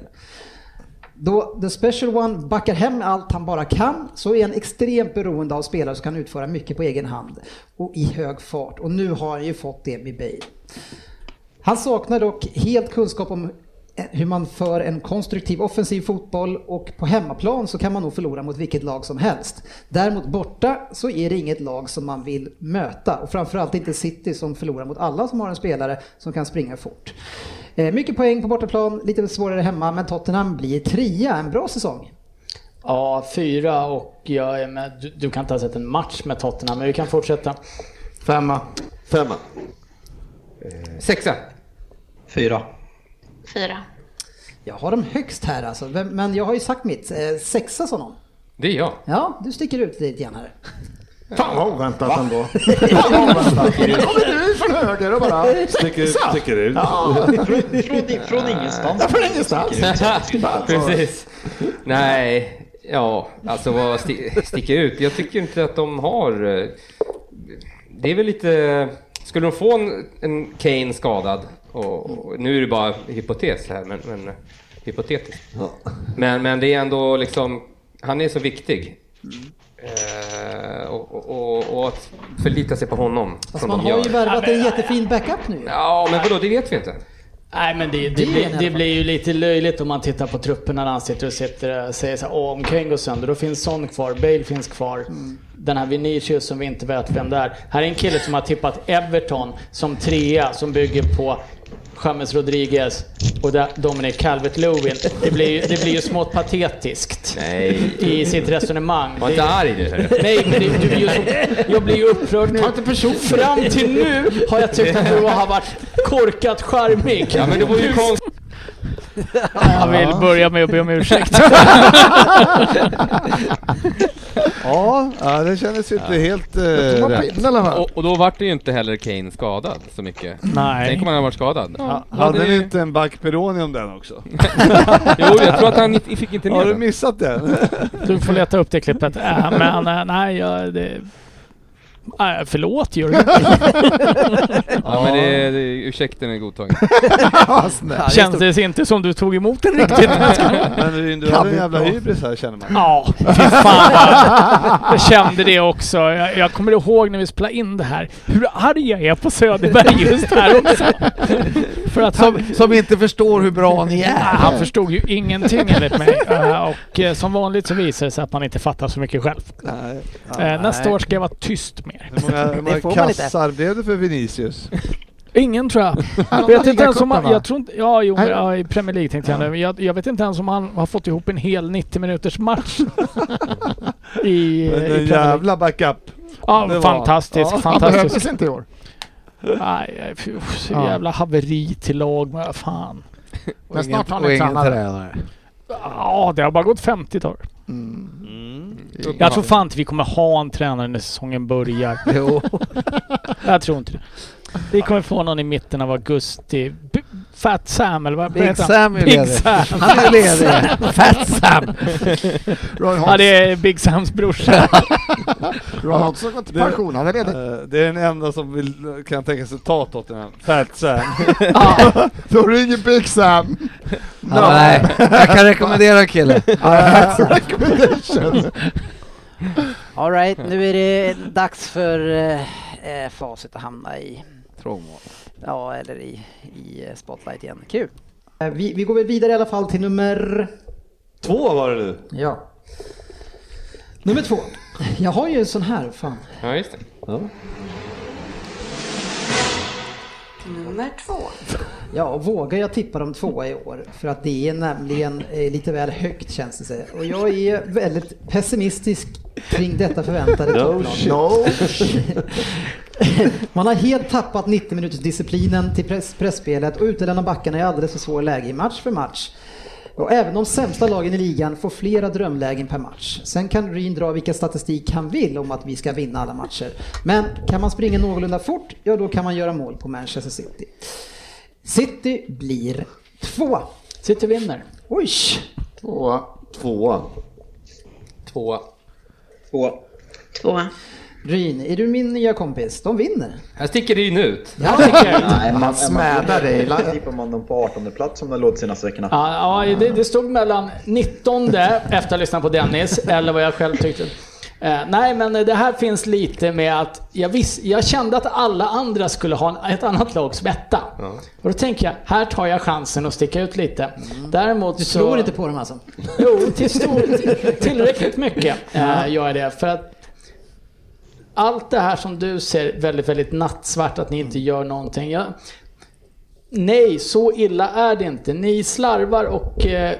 Speaker 1: Då The Special One backar hem allt han bara kan så är han extremt beroende av spelare som kan utföra mycket på egen hand och i hög fart. Och nu har han ju fått det med Bale. Han saknar dock helt kunskap om hur man för en konstruktiv offensiv fotboll och på hemmaplan så kan man nog förlora mot vilket lag som helst. Däremot borta så är det inget lag som man vill möta och framförallt inte City som förlorar mot alla som har en spelare som kan springa fort. Eh, Mycket poäng på bortaplan, lite svårare hemma men Tottenham blir trea, en bra säsong.
Speaker 4: Ja, fyra och jag är med. Du, du kan inte ha sett en match med Tottenham, men vi kan fortsätta.
Speaker 16: Femma.
Speaker 9: Femma.
Speaker 2: Sexa.
Speaker 11: Fyra.
Speaker 6: Fyra.
Speaker 1: Jag har dem högst här alltså, vem- men jag har ju sagt mitt. Eh, Sexa sa någon.
Speaker 2: Det är jag.
Speaker 1: Ja, du sticker ut lite grann här.
Speaker 20: Fan vad oväntat
Speaker 9: Va?
Speaker 20: ändå. Fan vad oväntat. Nu kommer du från höger och bara...
Speaker 9: Sticker-
Speaker 20: Så.
Speaker 9: sticker ut.
Speaker 20: Ja.
Speaker 21: Från, från ingenstans.
Speaker 20: Ja, från ingenstans.
Speaker 2: Precis. Nej, ja, alltså vad sti- sticker ut? Jag tycker inte att de har... eh, Det är väl lite... Skulle de få en, en Kane skadad, och, och nu är det bara hypotes här, men, men hypotetiskt. Men, men det är ändå liksom, han är så viktig. Eh, och, och- och, och att förlita sig på honom.
Speaker 1: Fast
Speaker 2: som
Speaker 1: man
Speaker 2: de
Speaker 1: har
Speaker 2: gör.
Speaker 1: ju värvat en jättefin backup nu.
Speaker 2: Ja, men vadå, det vet vi inte.
Speaker 4: Nej men det, det,
Speaker 1: Det är en i
Speaker 4: blir,
Speaker 1: alla
Speaker 4: det
Speaker 1: fall.
Speaker 4: blir ju lite löjligt om man tittar på trupperna när han sitter och sitter och säger så här, Åh, om Kane går sönder då finns Son kvar, Bale finns kvar.
Speaker 1: Mm.
Speaker 4: Den här Vinicius som vi inte vet vem det är. Här är en kille som har tippat Everton som trea som bygger på James Rodriguez och där Dominic Calvert-Lewin. Det blir, ju- det blir ju smått patetiskt
Speaker 2: Nej.
Speaker 4: i sitt resonemang.
Speaker 2: Var inte
Speaker 4: Det-
Speaker 2: arg nu, hörru.
Speaker 4: Nej, men det, du blir ju så, jag blir ju upprörd nu. Fram till nu har jag tyckt att du har varit korkat charmig.
Speaker 2: Ja, men det var ju
Speaker 4: Nu-
Speaker 2: konstigt.
Speaker 5: Jag vill börja med att be om ursäkt.
Speaker 9: Ja, ja, det kändes ju inte helt eh, rätt.
Speaker 22: Och, och då vart det ju inte heller Kane skadad så mycket.
Speaker 9: Nej.
Speaker 22: Tänk om han hade varit skadad.
Speaker 9: Ha,
Speaker 22: Då
Speaker 9: hade
Speaker 22: hade
Speaker 9: ni
Speaker 22: ju-
Speaker 9: inte en backperoni om den också?
Speaker 22: Jo, jag tror att han inte- fick inte med
Speaker 9: Har du
Speaker 22: den.
Speaker 9: missat den?
Speaker 5: Du får leta upp det klippet. Äh, men äh, nej, jag... Det... Äh, förlåt Jörgen.
Speaker 22: Ja, men det, det, ursäkten är godtagen.
Speaker 5: Kändes inte som du tog emot den riktigt.
Speaker 9: Men du hade en jävla hybris här känner man.
Speaker 5: Ja, fy fan. Jag kände det också. Jag, jag kommer ihåg när vi spelade in det här, hur arg jag är på Söderberg just här också. För att som,
Speaker 23: som inte förstår hur bra ni är.
Speaker 5: han förstod ju ingenting enligt mig. Eh, Och eh, som vanligt så visar det sig att man inte fattar så mycket själv. Eh, Nästa
Speaker 9: Nej.
Speaker 5: år ska jag vara tyst mer.
Speaker 9: Hur många, hur många kassar blev det för Vinicius?
Speaker 5: Ingen tror jag.
Speaker 9: Han
Speaker 5: vet
Speaker 9: har
Speaker 5: inte ens om han,
Speaker 9: ligacupen, va?
Speaker 5: jag tror inte, ja, jo,
Speaker 9: Nej.
Speaker 5: ja, i Premier League tänkte jag nu. Men Jag, jag vet inte ens om han har fått ihop en hel 90 minuters match. I,
Speaker 9: Men
Speaker 5: i
Speaker 9: en
Speaker 5: Premier League.
Speaker 9: jävla backup.
Speaker 5: Ja,
Speaker 9: Det var-
Speaker 5: fantastisk,
Speaker 9: Ja.
Speaker 5: fantastisk.
Speaker 9: Han behövdes inte i år.
Speaker 5: Nej, nej, fy, uff, så
Speaker 9: Ja.
Speaker 5: jävla haveri till lag. Vad fan.
Speaker 24: Och ingen- och ingen tränare.
Speaker 5: Ja, det har bara gått 50 dagar.
Speaker 20: Mm.
Speaker 5: Jag tror fan inte vi kommer ha en tränare när säsongen börjar.
Speaker 24: Jo.
Speaker 5: Jag tror inte det. Vi kommer få någon i mitten av augusti. B- Fat Sam eller vad
Speaker 23: Big
Speaker 5: heter han?
Speaker 23: Sam är ledig.
Speaker 5: Big Sam.
Speaker 23: Han är ledig. Fat Sam.
Speaker 9: Roy
Speaker 5: ja, det är Big Sams brorsa.
Speaker 9: Ja,
Speaker 20: Hodgson går till
Speaker 9: det-
Speaker 20: pension, han är ledig.
Speaker 9: eh, Det är den enda som vill, kan tänka sig ta Tottenham. Fat Sam.
Speaker 20: Då ringer Big Sam.
Speaker 9: Ja, nej. Jag kan rekommendera
Speaker 24: killen.
Speaker 20: Recommendation.
Speaker 23: All right, nu är det dags för eh, eh, facit att hamna i.
Speaker 24: Trångmål.
Speaker 23: Ja, eller i, i eh, spotlight igen. Kul.
Speaker 1: Eh, Vi, vi går väl vidare i alla fall till nummer...
Speaker 9: Två var det nu.
Speaker 1: Ja. Nummer två. Jag har ju en sån här, fan.
Speaker 2: Ja, just det.
Speaker 14: Nummer två.
Speaker 1: Ja, och vågar jag tippa dem tvåa i år? För att det är nämligen eh, lite väl högt känns det sig. Och jag är väldigt pessimistisk kring detta förväntade
Speaker 20: No
Speaker 1: topplag.
Speaker 20: shit. No shit.
Speaker 1: Man har helt tappat 90 minuters disciplinen till press, pressspelet och utelämnar backarna i alldeles för svåra läge i match för match. Och även de sämsta lagen i ligan får flera drömlägen per match. Sen kan Ryn dra vilka statistik han vill om att vi ska vinna alla matcher. Men kan man springa någorlunda fort, ja då kan man göra mål på Manchester City. City blir två.
Speaker 4: City vinner.
Speaker 1: Oj!
Speaker 20: Tvåa. Tvåa.
Speaker 2: Tvåa.
Speaker 21: Tvåa.
Speaker 6: Tvåa.
Speaker 1: Ryn, är du min nya kompis? De vinner.
Speaker 2: Här sticker det ju ut.
Speaker 1: Ja, det sticker ut.
Speaker 11: Nej,
Speaker 1: Man smädar dig.
Speaker 11: Ibland tippar man dem på 18 plats som det har låtit senaste veckorna.
Speaker 4: Ja, ja det, det stod mellan 19 efter att ha lyssnat på Dennis, eller vad jag själv tyckte. Eh, nej, men det här finns lite med att jag, visst, jag kände att alla andra skulle ha en, ett annat lag som etta. Och då tänker jag, här tar jag chansen att sticka ut lite. Däremot
Speaker 1: Mm. Du
Speaker 4: så...
Speaker 1: slår inte på dem alltså?
Speaker 4: Jo, till stor, till- tillräckligt mycket eh, gör jag det. För att allt det här som du ser väldigt, väldigt nattsvart, att ni inte gör någonting. Jag, nej, så illa är det inte. Ni slarvar och eh,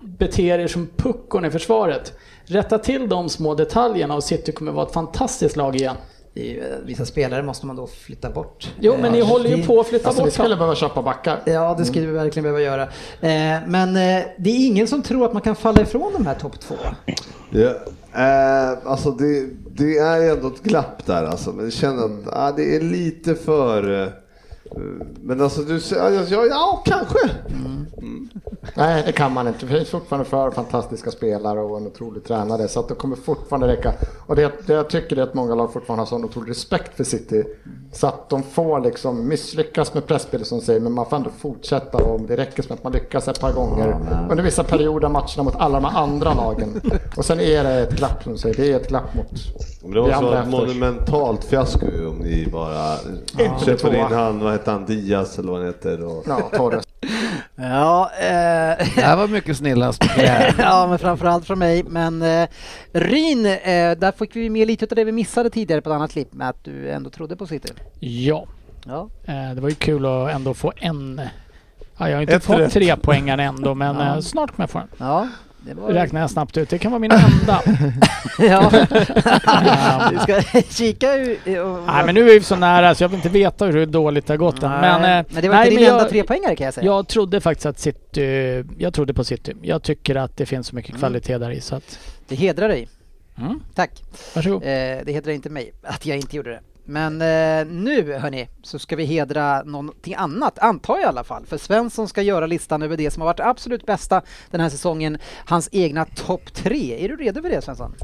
Speaker 4: beter er som puckon i försvaret. Rätta till de små detaljerna och City kommer vara ett fantastiskt lag igen.
Speaker 1: eh, Vissa spelare måste man då flytta bort.
Speaker 4: Jo, men ni
Speaker 1: Eh,
Speaker 4: håller ju
Speaker 1: det-
Speaker 4: på att flytta bort dem.
Speaker 1: behöva köpa backar. Ja, det skulle vi verkligen behöva göra. Eh, Men eh, det är ingen som tror att man kan falla ifrån de här topp två.
Speaker 9: Det, eh, alltså det, det är ändå ett glapp där alltså. Men jag känner att ah, det är lite för... eh, Men alltså du säger... Ja, ja, ja kanske.
Speaker 4: Nej, det kan man inte. Det finns fortfarande för fantastiska spelare och en otrolig tränare. Så att det kommer fortfarande räcka. Och det, det jag tycker är att många lag fortfarande har sån otrolig respekt för City. Så att de får liksom misslyckas med pressspel som säger, men man får ändå fortsätta. Och om det räcker som att man lyckas ett par gånger under vissa perioder av matcherna mot alla de här andra lagen. Och sen är det ett glapp som du säger, det är ett glapp mot
Speaker 9: Men det var
Speaker 4: vi
Speaker 9: så
Speaker 4: andra
Speaker 9: ett
Speaker 4: efter.
Speaker 9: monumentalt fiasko ju om ni bara
Speaker 4: Ja.
Speaker 9: köper in
Speaker 4: Tvåa.
Speaker 9: han, vad hette han, Diaz eller vad han heter. Och...
Speaker 4: Ja, Torres.
Speaker 1: Ja, eh...
Speaker 2: Det här var mycket snillast.
Speaker 1: ja, men framförallt från mig. Men eh, Ryn, eh, där fick vi med lite av det vi missade tidigare på ett annat klipp med att du ändå trodde på City.
Speaker 5: Ja.
Speaker 1: Ja.
Speaker 5: Eh, Det var ju kul att ändå få en... Ja, jag har inte
Speaker 1: Ett
Speaker 5: fått
Speaker 1: rätt.
Speaker 5: tre poängen ändå, men
Speaker 1: Ja.
Speaker 5: eh, snart kommer jag få den.
Speaker 1: Ja, det var-
Speaker 5: Räknar jag snabbt ut. Det kan vara min enda. Eh,
Speaker 1: ja. du ska kika hur... och-
Speaker 5: Nej, men nu är vi så nära så jag vill inte veta hur dåligt det har gått än.
Speaker 1: Nej,
Speaker 5: Men, eh,
Speaker 1: men det var inte din
Speaker 5: men
Speaker 1: enda trepoängare kan jag säga.
Speaker 5: Jag trodde faktiskt att City... Jag trodde på City. Jag tycker att det finns så mycket
Speaker 1: Mm.
Speaker 5: kvalitet där i så att...
Speaker 1: Det hedrar dig.
Speaker 5: Mm.
Speaker 1: Tack.
Speaker 5: Varsågod.
Speaker 1: Eh, det hedrar inte mig att jag inte gjorde det. Men eh, nu hörni, så ska vi hedra någonting annat, antar jag i alla fall. För Svensson ska göra listan över det som har varit absolut bästa den här säsongen. Hans egna topp tre. Är du redo för det Svensson?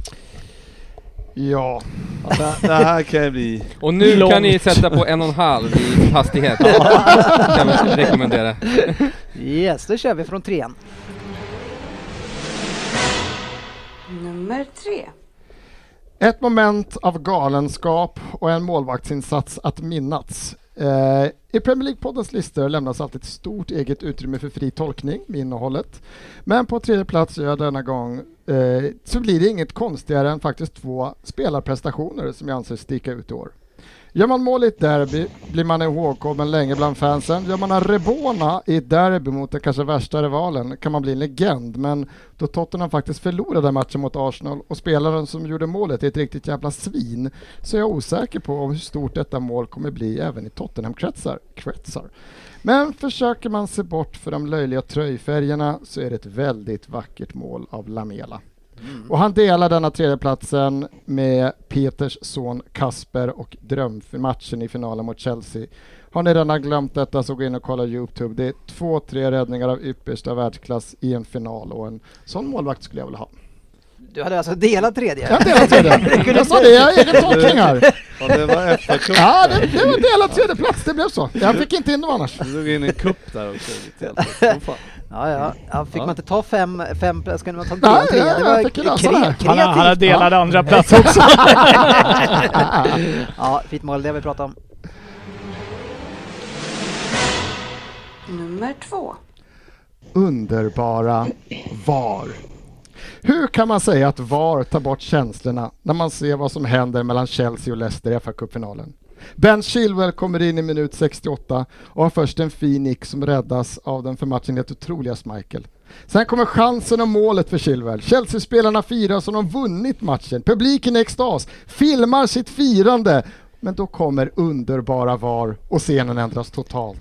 Speaker 4: Ja.
Speaker 9: Det, det här kan ju bli...
Speaker 3: Och nu kan ni sätta på en och en halv i hastighet. kan jag rekommendera.
Speaker 1: Yes, då kör vi från trean.
Speaker 14: Nummer tre.
Speaker 4: Ett moment av galenskap och en målvaktsinsats att minnas. Eh, I Premier League-poddens listor lämnas alltid ett stort eget utrymme för fri tolkning med innehållet. Men på tredje plats gör jag denna gång eh, så blir det inget konstigare än faktiskt två spelarprestationer som jag anser sticka ut i år. Gör man mål i ett derby blir man ihågkommen länge bland fansen. Gör man en Rebona i ett derby mot den kanske värsta rivalen kan man bli en legend. Men då Tottenham faktiskt förlorade matchen mot Arsenal och spelaren som gjorde målet är ett riktigt jävla svin så är jag osäker på om hur stort detta mål kommer bli även i Tottenham-kretsar. Kretsar. Men försöker man se bort för de löjliga tröjfärgerna så är det ett väldigt vackert mål av Lamela. Och han delar denna tredjeplatsen med Peters son Kasper och drömmatchen i finalen mot Chelsea. Har ni redan glömt detta så gå in och kolla Youtube. Det är två, tre räddningar av yppersta världsklass i en final och en sån målvakt skulle jag vilja ha.
Speaker 1: Du hade alltså delat tredje?
Speaker 4: Jag delar tredje. Jag sa det, jag har egen tolkning här.
Speaker 9: Ja, det var FA-cup.
Speaker 4: Ja, det, det var delad tredjeplats, det blev så. Jag fick inte in dem annars.
Speaker 9: Du drog in en kupp där också. lite grann.
Speaker 1: Ja, ja. ja fick
Speaker 9: Ja.
Speaker 1: man inte ta fem, fem pl- ska man ta
Speaker 4: Nej,
Speaker 1: del tre?
Speaker 4: ja,
Speaker 1: Det
Speaker 4: jag
Speaker 1: var
Speaker 4: fick ju lösa det här.
Speaker 1: kre-
Speaker 4: Han har- han har
Speaker 1: kreativt.
Speaker 4: delad
Speaker 1: Ja.
Speaker 4: andra plats också.
Speaker 1: ja, fint mål, det har vi pratat om.
Speaker 14: Nummer två.
Speaker 4: underbara VAR. Hur kan man säga att VAR tar bort känslorna när man ser vad som händer mellan Chelsea och Leicester i FA-cupfinalen? Ben Chilwell kommer in i minut 68 och har först en fin nick som räddas av den för matchen helt otroliga Schmeichel. Sen kommer chansen och målet för Chilwell. Chelsea-spelarna firar som de vunnit matchen. Publiken i extas, filmar sitt firande. Men då kommer underbara VAR och scenen ändras totalt.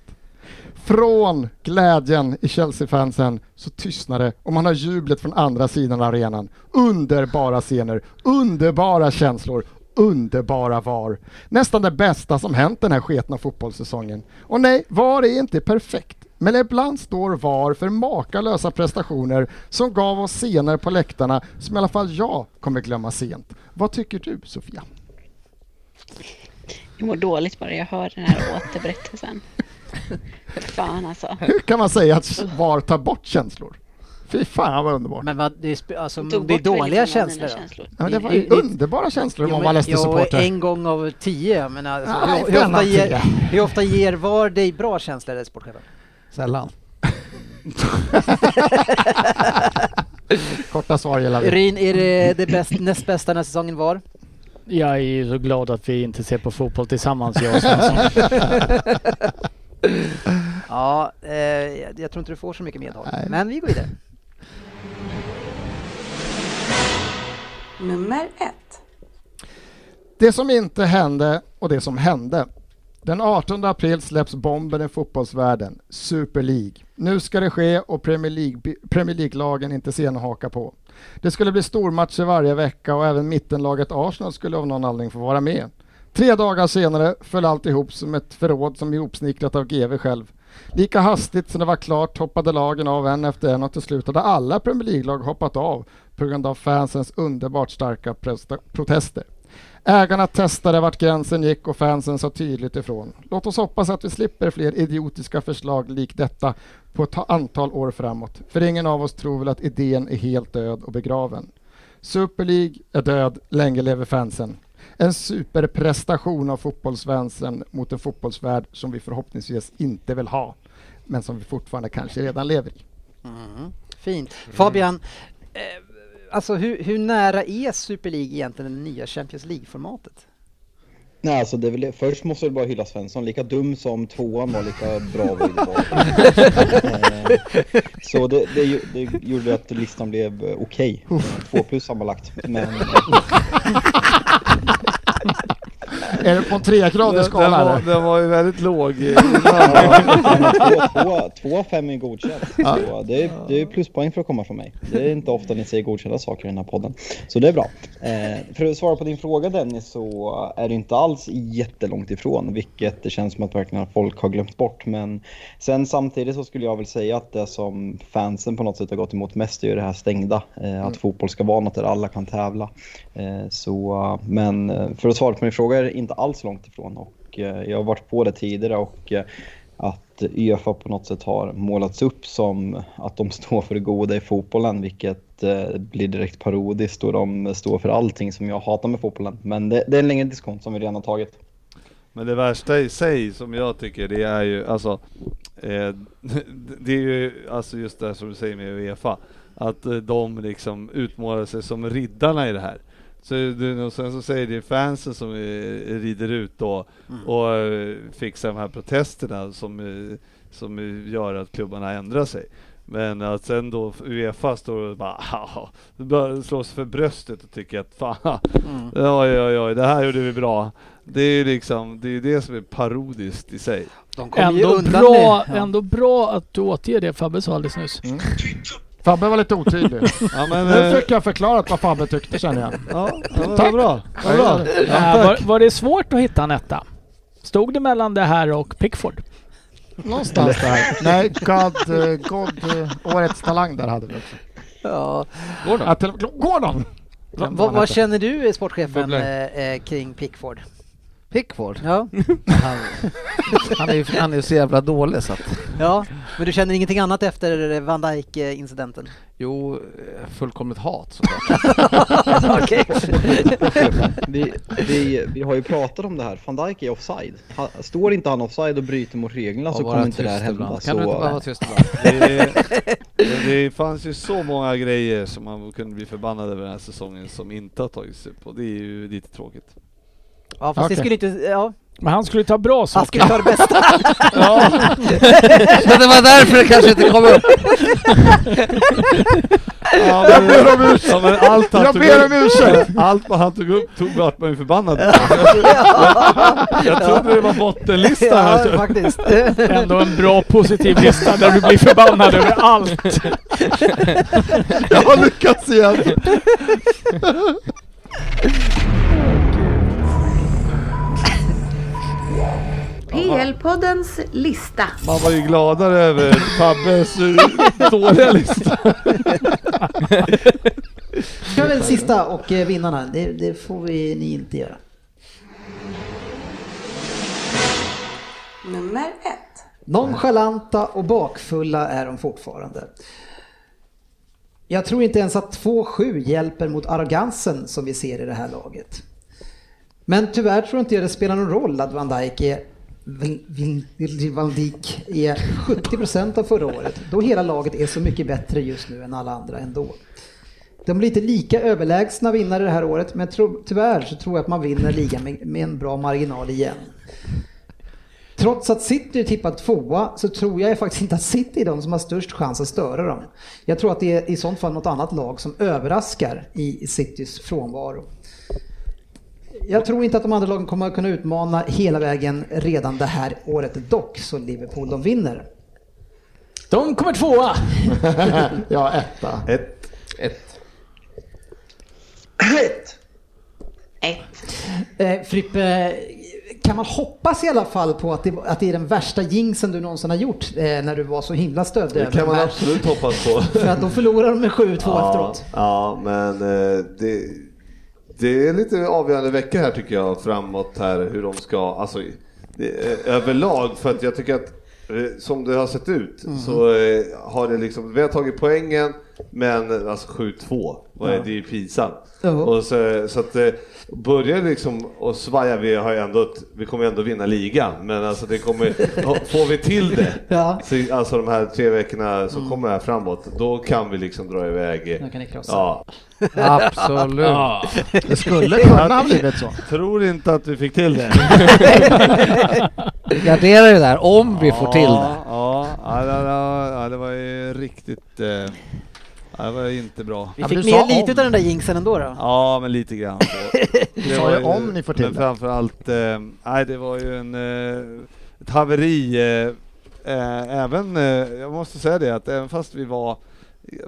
Speaker 4: Från glädjen i Chelsea-fansen så tystnar det och man har jublet från andra sidan arenan. Underbara scener, underbara känslor, underbara VAR. Nästan det bästa som hänt den här sketna fotbollssäsongen. Och nej, VAR är inte perfekt. Men ibland står VAR för makalösa prestationer som gav oss scener på läktarna som i alla fall jag kommer glömma sent. Vad tycker du Sofia?
Speaker 6: Jag mår dåligt bara jag hör den här återberättelsen. För fan alltså.
Speaker 4: Hur kan man säga att VAR tar bort känslor? Fy fan vad underbart.
Speaker 1: Men vad, det är, sp- alltså,
Speaker 4: Tog
Speaker 1: det är
Speaker 4: bort väldigt många
Speaker 1: dåliga
Speaker 4: av
Speaker 1: känslor,
Speaker 4: mina
Speaker 1: då.
Speaker 4: känslor. Ja, det var ju underbara känslor om
Speaker 1: Jo,
Speaker 4: man
Speaker 1: men-
Speaker 4: var Leicester-supporter.
Speaker 1: Jo, en gång av tio. Jag menar, alltså,
Speaker 4: Ah,
Speaker 1: hur, hur,
Speaker 4: denna
Speaker 1: ofta ger,
Speaker 4: tio.
Speaker 1: hur ofta ger VAR dig bra känslor, eller sportchefen?
Speaker 2: Sällan.
Speaker 4: Korta svar gillar vi.
Speaker 1: Ryn, är det, det bäst, näst bästa den här säsongen VAR?
Speaker 5: Jag är ju så glad att vi inte ser på fotboll tillsammans, jag och Svensson.
Speaker 1: ja, eh, jag, jag tror inte du får så mycket medhåll. Men vi går vidare.
Speaker 14: Nummer ett.
Speaker 4: Det som inte hände och det som hände. Den 18 april släpps bomben i fotbollsvärlden, Super League. Nu ska det ske och Premier League- Premier League-lagen inte sen haka på. Det skulle bli stormatcher varje vecka och även mittenlaget Arsenal skulle av någon anledning få vara med. Tre dagar senare föll allt ihop som ett förråd som ihopsnickrat av GV själv. Lika hastigt som det var klart hoppade lagen av en efter en och till slut hade alla Premier League-lag hoppat av på grund av fansens underbart starka presta- protester. Ägarna testade vart gränsen gick och fansen sa tydligt ifrån. Låt oss hoppas att vi slipper fler idiotiska förslag lik detta på ett antal år framåt. För ingen av oss tror väl att idén är helt död och begraven. Super League är död, länge lever fansen. En superprestation av fotbollsfansen mot en fotbollsvärld som vi förhoppningsvis inte vill ha, men som vi fortfarande kanske redan lever i.
Speaker 25: Mm. Fint. Fabian, eh, alltså hur, hur nära är Super League egentligen det nya Champions League-formatet?
Speaker 11: Nej, alltså det är väl det. Först måste jag bara hylla Svensson. Lika dum som tvåan var, lika bra var det var. Eh, Så det, det, ju- det gjorde att listan blev eh, okej. Eh, Två plus sammanlagt. Men...
Speaker 4: Är det på en tregradig
Speaker 2: Den-
Speaker 4: skala,
Speaker 2: Den var,
Speaker 4: eller?
Speaker 2: den var ju väldigt låg.
Speaker 11: Ja, två- två- Två av fem är godkänt.
Speaker 2: Ja.
Speaker 11: Så Det, är, det är pluspoäng för att komma från mig. Det är inte ofta ni säger godkända saker i den här podden. Så det är bra. Eh, för att svara på din fråga Dennis så är det inte alls jättelångt ifrån. Vilket det känns som att verkligen folk har glömt bort. Men sen samtidigt så skulle jag väl säga att det som fansen på något sätt har gått emot mest är ju det här stängda. Eh, att fotboll ska vara något där alla kan tävla. Eh, så, men eh, för att svara på din fråga är det inte alls långt ifrån. Och, eh, jag har varit på det tidigare och eh, att Uefa på något sätt har målats upp som att de står för det goda i fotbollen, vilket eh, blir direkt parodiskt och de står för allting som jag hatar med fotbollen. Men det, det är en längre diskont som vi redan har tagit.
Speaker 2: Men det värsta i sig som jag tycker det är ju alltså eh, Det är ju alltså just det här som du säger med Uefa Att eh, de liksom utmålar sig som riddarna i det här så du, och sen så säger det fansen som eh, rider ut då och eh, fixar de här protesterna som, eh, som eh, gör att klubbarna ändrar sig. Men att sen då Uefa står och bara haha, bara slår sig för bröstet och tycker att fan, oj oj oj, det här gjorde vi bra. Det är ju liksom, det är ju det som är parodiskt i sig.
Speaker 5: Ändå bra, ändå bra att du återger det Fabbe sa alldeles nyss.
Speaker 4: Fabbe var lite otydlig.
Speaker 2: Ja, men,
Speaker 4: nu
Speaker 2: eh,
Speaker 4: fick jag förklarat vad Fabbe tyckte känner jag.
Speaker 2: Ja,
Speaker 4: Tack.
Speaker 2: vad bra.
Speaker 4: Ja,
Speaker 5: Äh, var,
Speaker 4: tack.
Speaker 5: var det svårt att hitta en etta? Stod det mellan det här och Pickford?
Speaker 4: Någonstans där. Nej, God, eh, God, eh, årets talang där hade vi också.
Speaker 25: Ja.
Speaker 4: Gordon. Ja, till, Gordon.
Speaker 25: Va, va, vad känner du, eh, sportchefen,
Speaker 26: Bubblar.
Speaker 25: eh, eh, kring Pickford?
Speaker 26: Pickford?
Speaker 25: Ja.
Speaker 26: Han, han, är ju, han är ju så jävla dålig så att...
Speaker 25: ja, men du känner ingenting annat efter eh, Van Dijk-incidenten?
Speaker 26: Jo, fullkomligt hat såklart.
Speaker 25: Okej.
Speaker 11: vi, vi, vi har ju pratat om det här. Van Dijk är offside. Han, står inte han offside och bryter mot reglerna
Speaker 26: Ja,
Speaker 11: så
Speaker 26: vara
Speaker 11: kommer inte det här
Speaker 26: tyst
Speaker 11: hända.
Speaker 26: ibland.
Speaker 11: Så,
Speaker 26: Kan du inte bara vara tyst ibland?
Speaker 2: Det, det fanns ju så många grejer som man kunde bli förbannad över den här säsongen som inte har tagits upp och det är ju lite tråkigt.
Speaker 25: Ja, fast det skulle inte... Ja.
Speaker 5: Men han skulle ta bra saker.
Speaker 25: Han skulle ta det bästa.
Speaker 5: Ja.
Speaker 26: Så det var därför det kanske inte kom upp.
Speaker 2: Ja,
Speaker 26: Jag ber
Speaker 4: om ursäkt.
Speaker 2: Ja, men allt han
Speaker 4: Jag
Speaker 2: tog
Speaker 4: ber
Speaker 2: upp-
Speaker 4: om ursäkt.
Speaker 2: Allt vad han tog upp tog vart man ju förbannad på. jag, jag trodde det var bottenlistan.
Speaker 5: Ja,
Speaker 25: faktiskt.
Speaker 5: Ändå en bra positiv lista där du blir förbannad över allt.
Speaker 2: Jag har lyckats igen.
Speaker 14: PL-poddens lista.
Speaker 2: Man var ju gladare över Fabbes eh, dåliga lista.
Speaker 1: Vi kör väl sista och eh, vinnarna. Det, det får vi, ni inte göra.
Speaker 27: Nummer ett.
Speaker 1: Nonchalanta och bakfulla är de fortfarande. Jag tror inte ens att 2-7 hjälper mot arrogansen som vi ser i det här laget. Men tyvärr tror inte jag det spelar någon roll att Van Dijk är, Vin- Vin- Van Dijk är 70% av förra året, då hela laget är så mycket bättre just nu än alla andra ändå. De blir inte lika överlägsna vinnare det här året, men tro, tyvärr så tror jag att man vinner ligan med, med en bra marginal igen. Trots att City är tippad tvåa så tror jag faktiskt inte att City är de som har störst chans att störa dem. Jag tror att det är i sånt fall något annat lag som överraskar i Citys frånvaro. Jag tror inte att de andra lagen kommer att kunna utmana hela vägen redan det här året dock, så Liverpool de vinner.
Speaker 5: De kommer tvåa!
Speaker 1: ja, etta.
Speaker 2: Ett.
Speaker 28: Ett.
Speaker 11: Ett!
Speaker 7: Eh, Frippe, kan man hoppas i alla fall på att det, att det är den värsta jinxen du någonsin har gjort eh, när du var så himla stöddig?
Speaker 29: Det
Speaker 7: över
Speaker 29: kan
Speaker 7: de
Speaker 29: man
Speaker 7: här?
Speaker 29: absolut hoppas på.
Speaker 7: För att då förlorar de med 7-2 efteråt.
Speaker 29: Ja, men eh, det, det är lite avgörande veckor här tycker jag framåt här hur de ska, alltså det, eh, överlag för att jag tycker att eh, som det har sett ut
Speaker 9: Mm.
Speaker 29: så eh, har det liksom, vi har tagit poängen men alltså 7-2, vad är
Speaker 9: Ja.
Speaker 29: det är ju pinsamt.
Speaker 9: Jo.
Speaker 29: Och så, så att eh, börjar det liksom och svaja, vi har ju ändå, ett- vi kommer ju ändå vinna ligan men alltså det kommer, får vi till det
Speaker 7: Ja. Mm.
Speaker 29: så, alltså de här tre veckorna som kommer här framåt, då kan vi liksom dra iväg.
Speaker 7: Då kan ni krossa.
Speaker 29: Ja.
Speaker 9: Absolut.
Speaker 29: Ja.
Speaker 9: Det skulle kunna ha blivit
Speaker 13: så.
Speaker 9: Tror inte att vi fick till det.
Speaker 2: Gardera det där, om vi får till det.
Speaker 9: Ja, ja, ja, ja, ja det var ju riktigt... eh, Ja, det var inte bra.
Speaker 1: Vi fick med lite av den där jinxen ändå då.
Speaker 9: Ja, men lite grann. så.
Speaker 1: Du
Speaker 9: Det
Speaker 1: sa
Speaker 9: var
Speaker 1: ju om ni får till
Speaker 9: Men
Speaker 1: det.
Speaker 9: framförallt, eh, nej det var ju en, eh, ett haveri. Eh, eh, även, eh, jag måste säga det, att även fast vi var eh,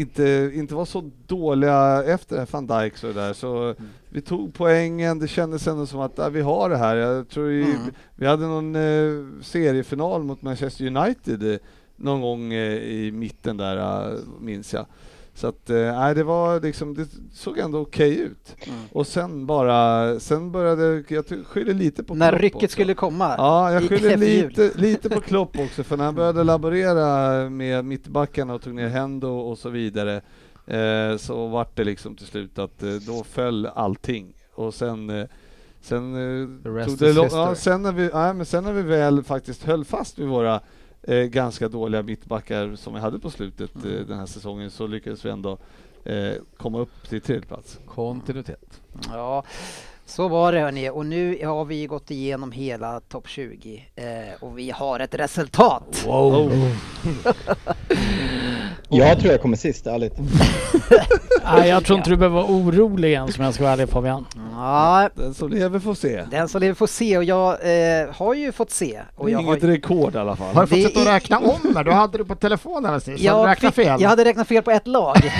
Speaker 9: inte, inte var så dåliga efter det här van Dijk så där så vi tog poängen, det kändes ändå som att ah, vi har det här. Jag tror ju,
Speaker 1: Mm.
Speaker 9: vi hade någon eh, seriefinal mot Manchester United eh, någon gång eh, i mitten där eh, minns jag. Så att, eh, nej, det var liksom, det såg ändå okej ut.
Speaker 1: Mm.
Speaker 9: Och sen bara, sen började, jag ty- skyller lite på
Speaker 1: När
Speaker 9: Klopp
Speaker 1: rycket
Speaker 9: också.
Speaker 1: skulle komma.
Speaker 9: Ja, jag
Speaker 1: i-
Speaker 9: skyller
Speaker 1: efter jul. Mm.
Speaker 9: lite, lite på Klopp också, för när han började laborera med mittbackarna och tog ner Hendo och så vidare, eh, så vart det liksom till slut att eh, då föll allting. Och sen, eh, sen, eh,
Speaker 29: rest
Speaker 9: tog det
Speaker 29: is
Speaker 9: lång,
Speaker 29: history.
Speaker 9: ja, sen, när vi, nej, men sen när vi väl faktiskt höll fast vid våra eh, ganska dåliga mittbackar som vi hade på slutet eh,
Speaker 1: Mm.
Speaker 9: den här säsongen, så lyckades vi ändå eh, komma upp till tredje plats.
Speaker 2: Kontinuitet.
Speaker 1: Ja, så var det hörni. Och nu har vi gått igenom hela topp 20 eh, och vi har ett resultat.
Speaker 2: Wow.
Speaker 30: Jag tror jag kommer sist, ärligt.
Speaker 5: Nej, jag tror inte du behöver vara orolig än som jag ska vara ärlig Fabian.
Speaker 1: Ja.
Speaker 9: Den som lever får se.
Speaker 1: Den som lever får se och jag eh, har ju fått se. Och jag har
Speaker 9: Inget
Speaker 1: ju...
Speaker 9: rekord i alla fall.
Speaker 1: Har
Speaker 4: du fått
Speaker 1: Det
Speaker 4: sitta och
Speaker 1: är-
Speaker 4: räkna om här? Då hade du på telefonen precis. så hade du
Speaker 1: Jag,
Speaker 4: räknat
Speaker 1: fick,
Speaker 4: fel.
Speaker 1: jag hade räknat fel på ett lag.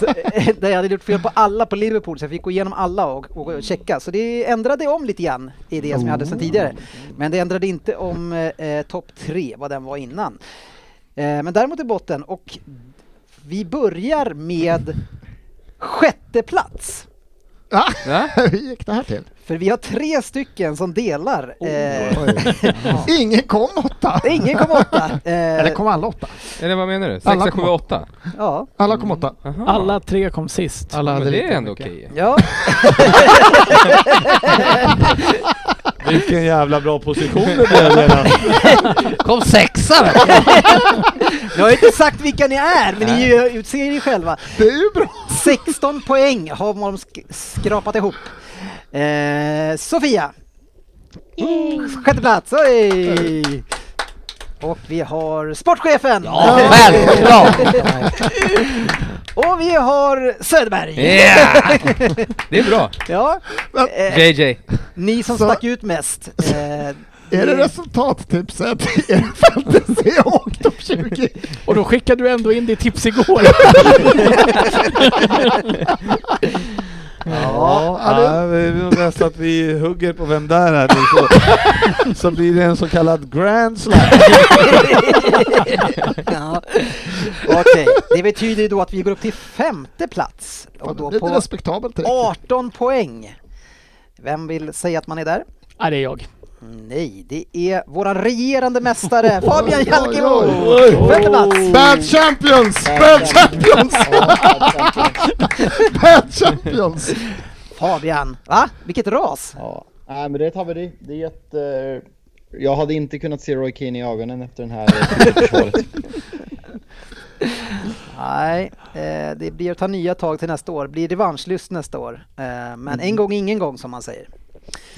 Speaker 1: så, eh, där jag hade gjort fel på alla på Liverpool så jag fick gå igenom alla och, och checka. Så det ändrade om lite grann i det som jag hade sedan
Speaker 4: Mm.
Speaker 1: tidigare. Men det ändrade inte om eh, topp tre, vad den var innan. Eh, men däremot i botten och vi börjar med sjätte plats.
Speaker 4: Hur gick det här till?
Speaker 1: För vi har tre stycken som delar. eh,
Speaker 4: Ingen kom åtta!
Speaker 1: Ingen kom åtta! Eh,
Speaker 4: Eller kom alla åtta?
Speaker 3: Eller vad menar du?
Speaker 4: Alla
Speaker 3: 6,
Speaker 4: kom
Speaker 3: 7, 8?
Speaker 1: Ja.
Speaker 4: Alla kom åtta.
Speaker 5: Alla tre kom sist.
Speaker 3: Alla hade Men det är lika ändå mycket. okej.
Speaker 1: Ja.
Speaker 9: Vilken jävla bra position det blev Lena.
Speaker 1: Kom sexa! Jag har inte sagt vilka ni är, men ni ju- utser er ju själva.
Speaker 4: Det är ju bra!
Speaker 1: 16 poäng har de sk- skrapat ihop. Eh, Sofia! Sjätte plats, oj! Och vi har sportchefen!
Speaker 2: Ja, självklart.
Speaker 1: Och vi har Söderberg!
Speaker 12: Yeah! Det är bra.
Speaker 1: Ja. Eh,
Speaker 12: JJ.
Speaker 1: Ni som stack ut mest. Eh,
Speaker 4: Är det
Speaker 1: ni-
Speaker 4: resultattipset? Är det fantasy och topp 20?
Speaker 5: Och då skickade du ändå in ditt tips igår.
Speaker 9: Ja, ja, det är nog bäst att vi hugger på vem där är nu så, så blir det en så kallad grand slam.
Speaker 1: ja. Okej, det betyder ju då att vi går upp till femte plats. Och då
Speaker 4: det är
Speaker 1: på
Speaker 4: inte respektabelt direkt.
Speaker 1: 18 poäng. Vem vill säga att man är där?
Speaker 5: Ja, det är jag.
Speaker 1: Nej, det är våran regerande mästare Fabian Jalkemo!
Speaker 4: Oj, oj.
Speaker 1: Femte plats!
Speaker 4: Bad champions! Bad champions! Bad champions!
Speaker 1: Fabian, va? Vilket ras!
Speaker 30: Ja. Nej, men det är ett haveri. Det är ett, eh, jag hade inte kunnat se Roy Keane i ögonen efter den här eh, försvaret.
Speaker 1: Nej, eh, det blir att ta nya tag till nästa år. Blir revanschlyst nästa år. Eh, men
Speaker 4: Mm.
Speaker 1: en gång ingen gång som man säger.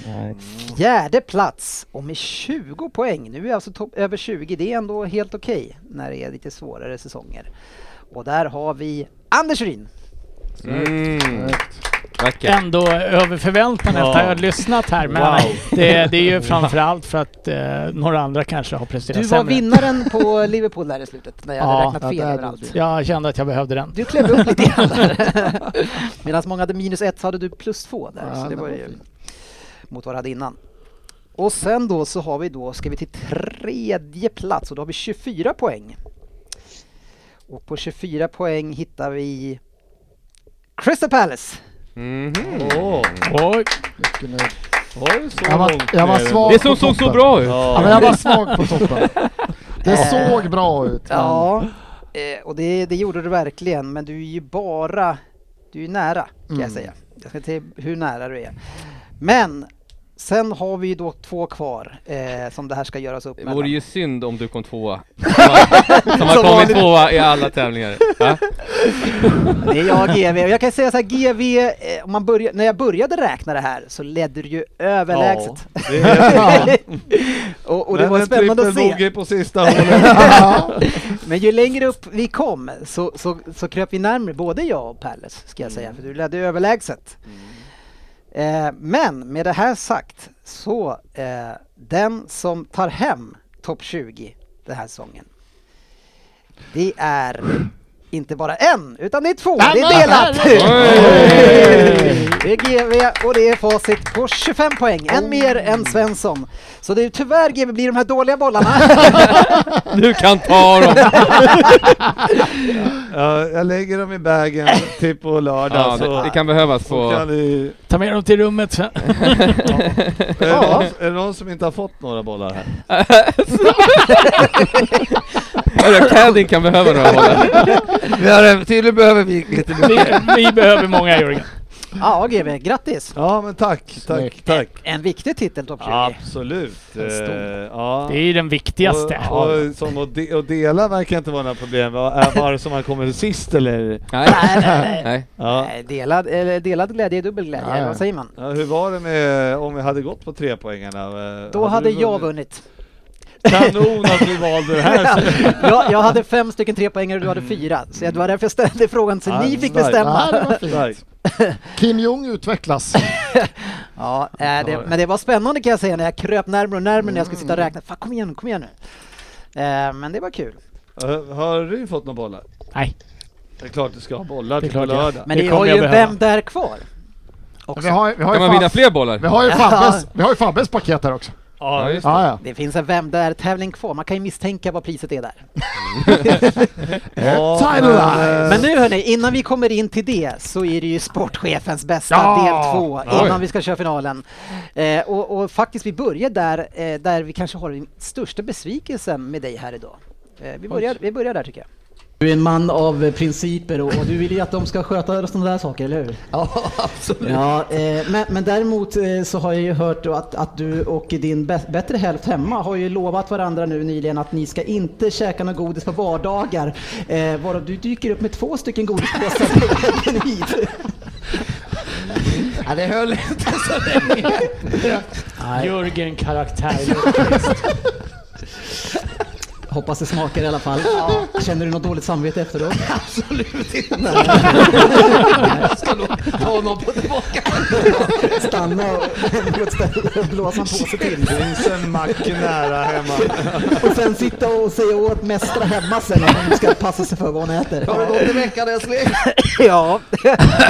Speaker 30: Nej.
Speaker 1: Fjärde plats och med 20 poäng. Nu är alltså topp över 20. Det är ändå helt okej när det är lite svårare säsonger. Och där har vi Anders Ryn.
Speaker 3: Mm. Vackert.
Speaker 5: Ändå över förväntan efter
Speaker 3: Ja.
Speaker 5: att jag har lyssnat här. Men
Speaker 3: Wow.
Speaker 5: det, det är ju framförallt för att eh, några andra kanske har presterat
Speaker 1: Du var
Speaker 5: sämre.
Speaker 1: vinnaren på Liverpool där i slutet när jag hade räknat fel överallt.
Speaker 5: Jag kände att jag behövde den.
Speaker 1: Du klev upp lite grann där. Medan många hade minus ett så hade du plus två där.
Speaker 7: Ja,
Speaker 1: så det
Speaker 7: det
Speaker 1: var
Speaker 7: var
Speaker 1: ju mot vad du hade innan. Och sen då så har vi då, ska vi till tredje plats och då har vi 24 poäng. Och på 24 poäng hittar vi Crystal Palace.
Speaker 9: Åh.
Speaker 5: Oj.
Speaker 9: Oj, så
Speaker 4: Jag var-
Speaker 9: långt
Speaker 4: jag var
Speaker 9: ner.
Speaker 4: svag Det på som såg så toppen. bra ut. Ja, men jag var svag på toppen. Det
Speaker 1: Eh,
Speaker 4: såg bra ut, men-
Speaker 1: Ja, eh, och det, det gjorde du verkligen. Men du är ju bara, du är ju nära kan jag
Speaker 7: Mm.
Speaker 1: säga. Jag ska se hur nära du är. Men sen har vi ju då två kvar eh, som det här ska göras upp
Speaker 12: Det
Speaker 1: mellan.
Speaker 12: vore ju synd om du kom tvåa. Som har kommit tvåa i alla tävlingar. Va?
Speaker 1: Det är jag och GV. Och Jag kan säga så här, GV, eh, om man börjar, när jag började räkna det här så ledde du ju överlägset.
Speaker 9: Ja, det är helt sant.
Speaker 1: och, och det
Speaker 9: Men
Speaker 1: var
Speaker 9: en
Speaker 1: spännande att se.
Speaker 9: trippelbogey på sista hålet.
Speaker 1: Ja. Men ju längre upp vi kom så, så, så kröp vi närmare, både jag och Palace, ska jag säga, för du ledde ju överlägset. Eh, men med det här sagt så, eh, den som tar hem topp 20 den här säsongen, det är inte bara en, utan det är två.
Speaker 7: Nej,
Speaker 1: det är
Speaker 7: men
Speaker 1: delat!
Speaker 7: herregud!
Speaker 1: det är GV och det är facit på 25 poäng, en mer än Svensson. Så det är tyvärr GV blir de här dåliga bollarna.
Speaker 12: Du kan ta dem!
Speaker 9: Ja, jag lägger dem i bagen till på lördag.
Speaker 12: Ja, det-
Speaker 9: så,
Speaker 12: det kan behövas på-
Speaker 9: så kan ni-
Speaker 5: Ta med dem till rummet sen.
Speaker 9: Är, det någon, är det någon som inte har fått några bollar här?
Speaker 12: Hörru, Caddyn kan behöva några bollar.
Speaker 2: Vi har, tydligen behöver vi lite mer.
Speaker 1: Ja, GB, grattis!
Speaker 9: Ja, men tack, tack, tack.
Speaker 1: En viktig titel, topp 20.
Speaker 9: Absolut.
Speaker 1: En stor.
Speaker 9: Eh, ja.
Speaker 5: Det är ju den viktigaste.
Speaker 9: Och, och, som att, de, att dela verkar inte vara några problem. Vad- Är bara som man kommer sist eller?
Speaker 12: Nej,
Speaker 1: nej,
Speaker 12: nej.
Speaker 9: Ja.
Speaker 1: Nej, Delad, eller delad glädje är dubbel glädje, eller vad säger man?
Speaker 9: Ja, hur var det med om vi hade gått på tre poängarna? Eh,
Speaker 1: Då hade
Speaker 9: du
Speaker 1: jag vunnit.
Speaker 9: Kanon att du valde det här.
Speaker 1: jag, jag hade fem stycken trepoängare och du hade fyra, så det var därför jag ställde frågan så
Speaker 4: Ja,
Speaker 1: ni fick
Speaker 4: starkt.
Speaker 1: bestämma.
Speaker 4: Ja, det var fint. Starkt. Kim Jong utvecklas.
Speaker 1: ja, äh, det, men det var spännande kan jag säga när jag kröp närmare och närmare när jag skulle sitta och räkna. Fan, kom igen, kom igen nu. Eh, men det var kul.
Speaker 9: Eh, Har du fått några bollar?
Speaker 5: Nej.
Speaker 9: Det är klart du ska ha bollar
Speaker 5: Det är
Speaker 9: till på
Speaker 5: klart jag-
Speaker 9: lördag.
Speaker 1: Men det var ju Vem där kvar? också.
Speaker 4: Vi har, vi har
Speaker 9: Kan
Speaker 4: ju
Speaker 9: man
Speaker 4: Fab-
Speaker 9: vinna fler bollar?
Speaker 4: Vi har ju
Speaker 9: Ja.
Speaker 4: Fabbes, vi har ju Fabbes paket här också.
Speaker 9: Ja,
Speaker 1: det. finns en Vem där-tävling kvar, man kan ju misstänka vad priset är där.
Speaker 9: Ja, Title men, eh,
Speaker 1: men nu hörni, innan vi kommer in till det så är det ju sportchefens bästa
Speaker 9: Ja!
Speaker 1: del två
Speaker 9: Oj.
Speaker 1: innan vi ska köra finalen. Eh, och, och faktiskt, vi börjar där, eh, där vi kanske har den största besvikelsen med dig här idag. Eh, vi, börjar, vi börjar där tycker jag.
Speaker 13: Du är en man av eh, principer och, och du vill ju att de ska sköta sådana där saker, eller hur? Ja, absolut. Ja, eh, men, men däremot eh, så har jag ju hört att, att du och din bä- bättre hälft hemma har ju lovat varandra nu nyligen att ni ska inte käka något godis på vardagar. Eh, varav du dyker upp med två stycken godispåsar på vägen hit.
Speaker 7: Ja, det höll inte så länge.
Speaker 5: Jörgen karaktär.
Speaker 13: Hoppas det smakar i alla fall. Känner du något dåligt samvete efteråt? Absolut inte.
Speaker 7: Jag ska nog
Speaker 13: ta honom på tillbaka.
Speaker 7: Stanna och- på ett ställe och blåsa en påse till.
Speaker 9: Finns en mack nära hemma.
Speaker 13: Och sen sitta och säga åt mästra hemma sen att hon ska passa sig för vad hon äter.
Speaker 7: Har det gått en vecka,
Speaker 13: älskling?
Speaker 1: Ja.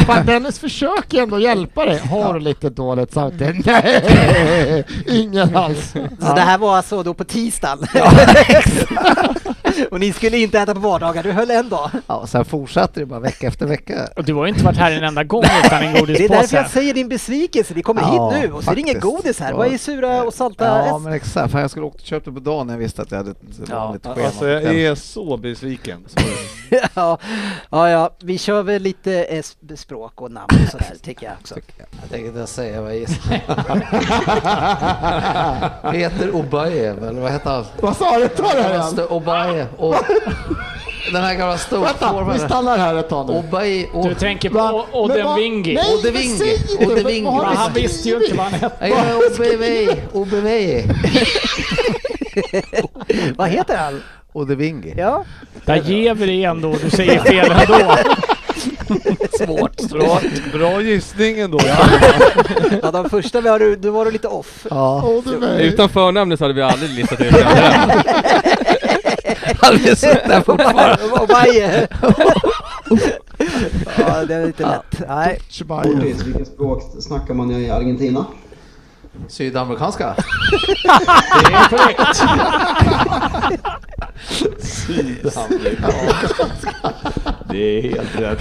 Speaker 4: Fan, Dennis försöker ändå hjälpa dig. Har du lite dåligt samvete? Nej, ingen alls.
Speaker 1: Så det här var alltså då på tisdagen? och ni skulle inte äta på vardagar, du höll en dag?
Speaker 13: Ja, sen fortsatte det bara vecka efter vecka.
Speaker 5: Och du har ju inte varit här en enda gång utan en
Speaker 1: Det är därför jag
Speaker 5: godispåse.
Speaker 1: säger din besvikelse, vi kommer
Speaker 2: Ja,
Speaker 1: hit nu och så är det inget
Speaker 2: faktiskt.
Speaker 1: godis här.
Speaker 2: Ja.
Speaker 1: Vad är sura och salta
Speaker 2: Ja
Speaker 1: ja,
Speaker 2: men exakt, fan jag skulle åkt och köpt det på dagen när jag visste att jag hade ett vanligt schema.
Speaker 9: Alltså jag är så besviken.
Speaker 1: ja, ja, ja, vi kör väl lite eh, sp- språk och namn och sådär tycker jag också.
Speaker 13: Jag tänkte inte säga vad jag
Speaker 1: gissar.
Speaker 13: Peter Obaev, eller vad heter han?
Speaker 4: Vad sa du? Ta det här igen.
Speaker 13: Just Obaev. Och den här gamla
Speaker 4: Vänta, vi
Speaker 13: storformen.
Speaker 4: stannar här ett tag nu.
Speaker 13: Obae, o-
Speaker 5: Du tänker på
Speaker 13: Va?
Speaker 5: O- Odenvingi.
Speaker 13: Men vad- nej, Odenvingi. säg inte. Odenvingi. Vad har
Speaker 5: Men
Speaker 13: du
Speaker 5: Han
Speaker 13: skrivit?
Speaker 5: visste ju inte vad han hette.
Speaker 13: Nej, jag är Obewey. Obewey.
Speaker 1: Vad heter han?
Speaker 2: Odevingi.
Speaker 1: Ja.
Speaker 5: Där ger vi dig ändå och du säger fel ändå.
Speaker 1: Svårt.
Speaker 9: Bra, bra gissning ändå.
Speaker 1: Ja, de första var du, då var du lite off.
Speaker 3: Utan förnamnet så hade vi aldrig listat ut det andra.
Speaker 2: Hade vi suttit där fortfarande.
Speaker 1: Och Baje. Ja, det är lite lätt. Nej.
Speaker 11: Portis, vilket språk snackar man i Argentina?
Speaker 2: Sydamerikanska?
Speaker 11: Det är korrekt.
Speaker 29: Det är helt rätt.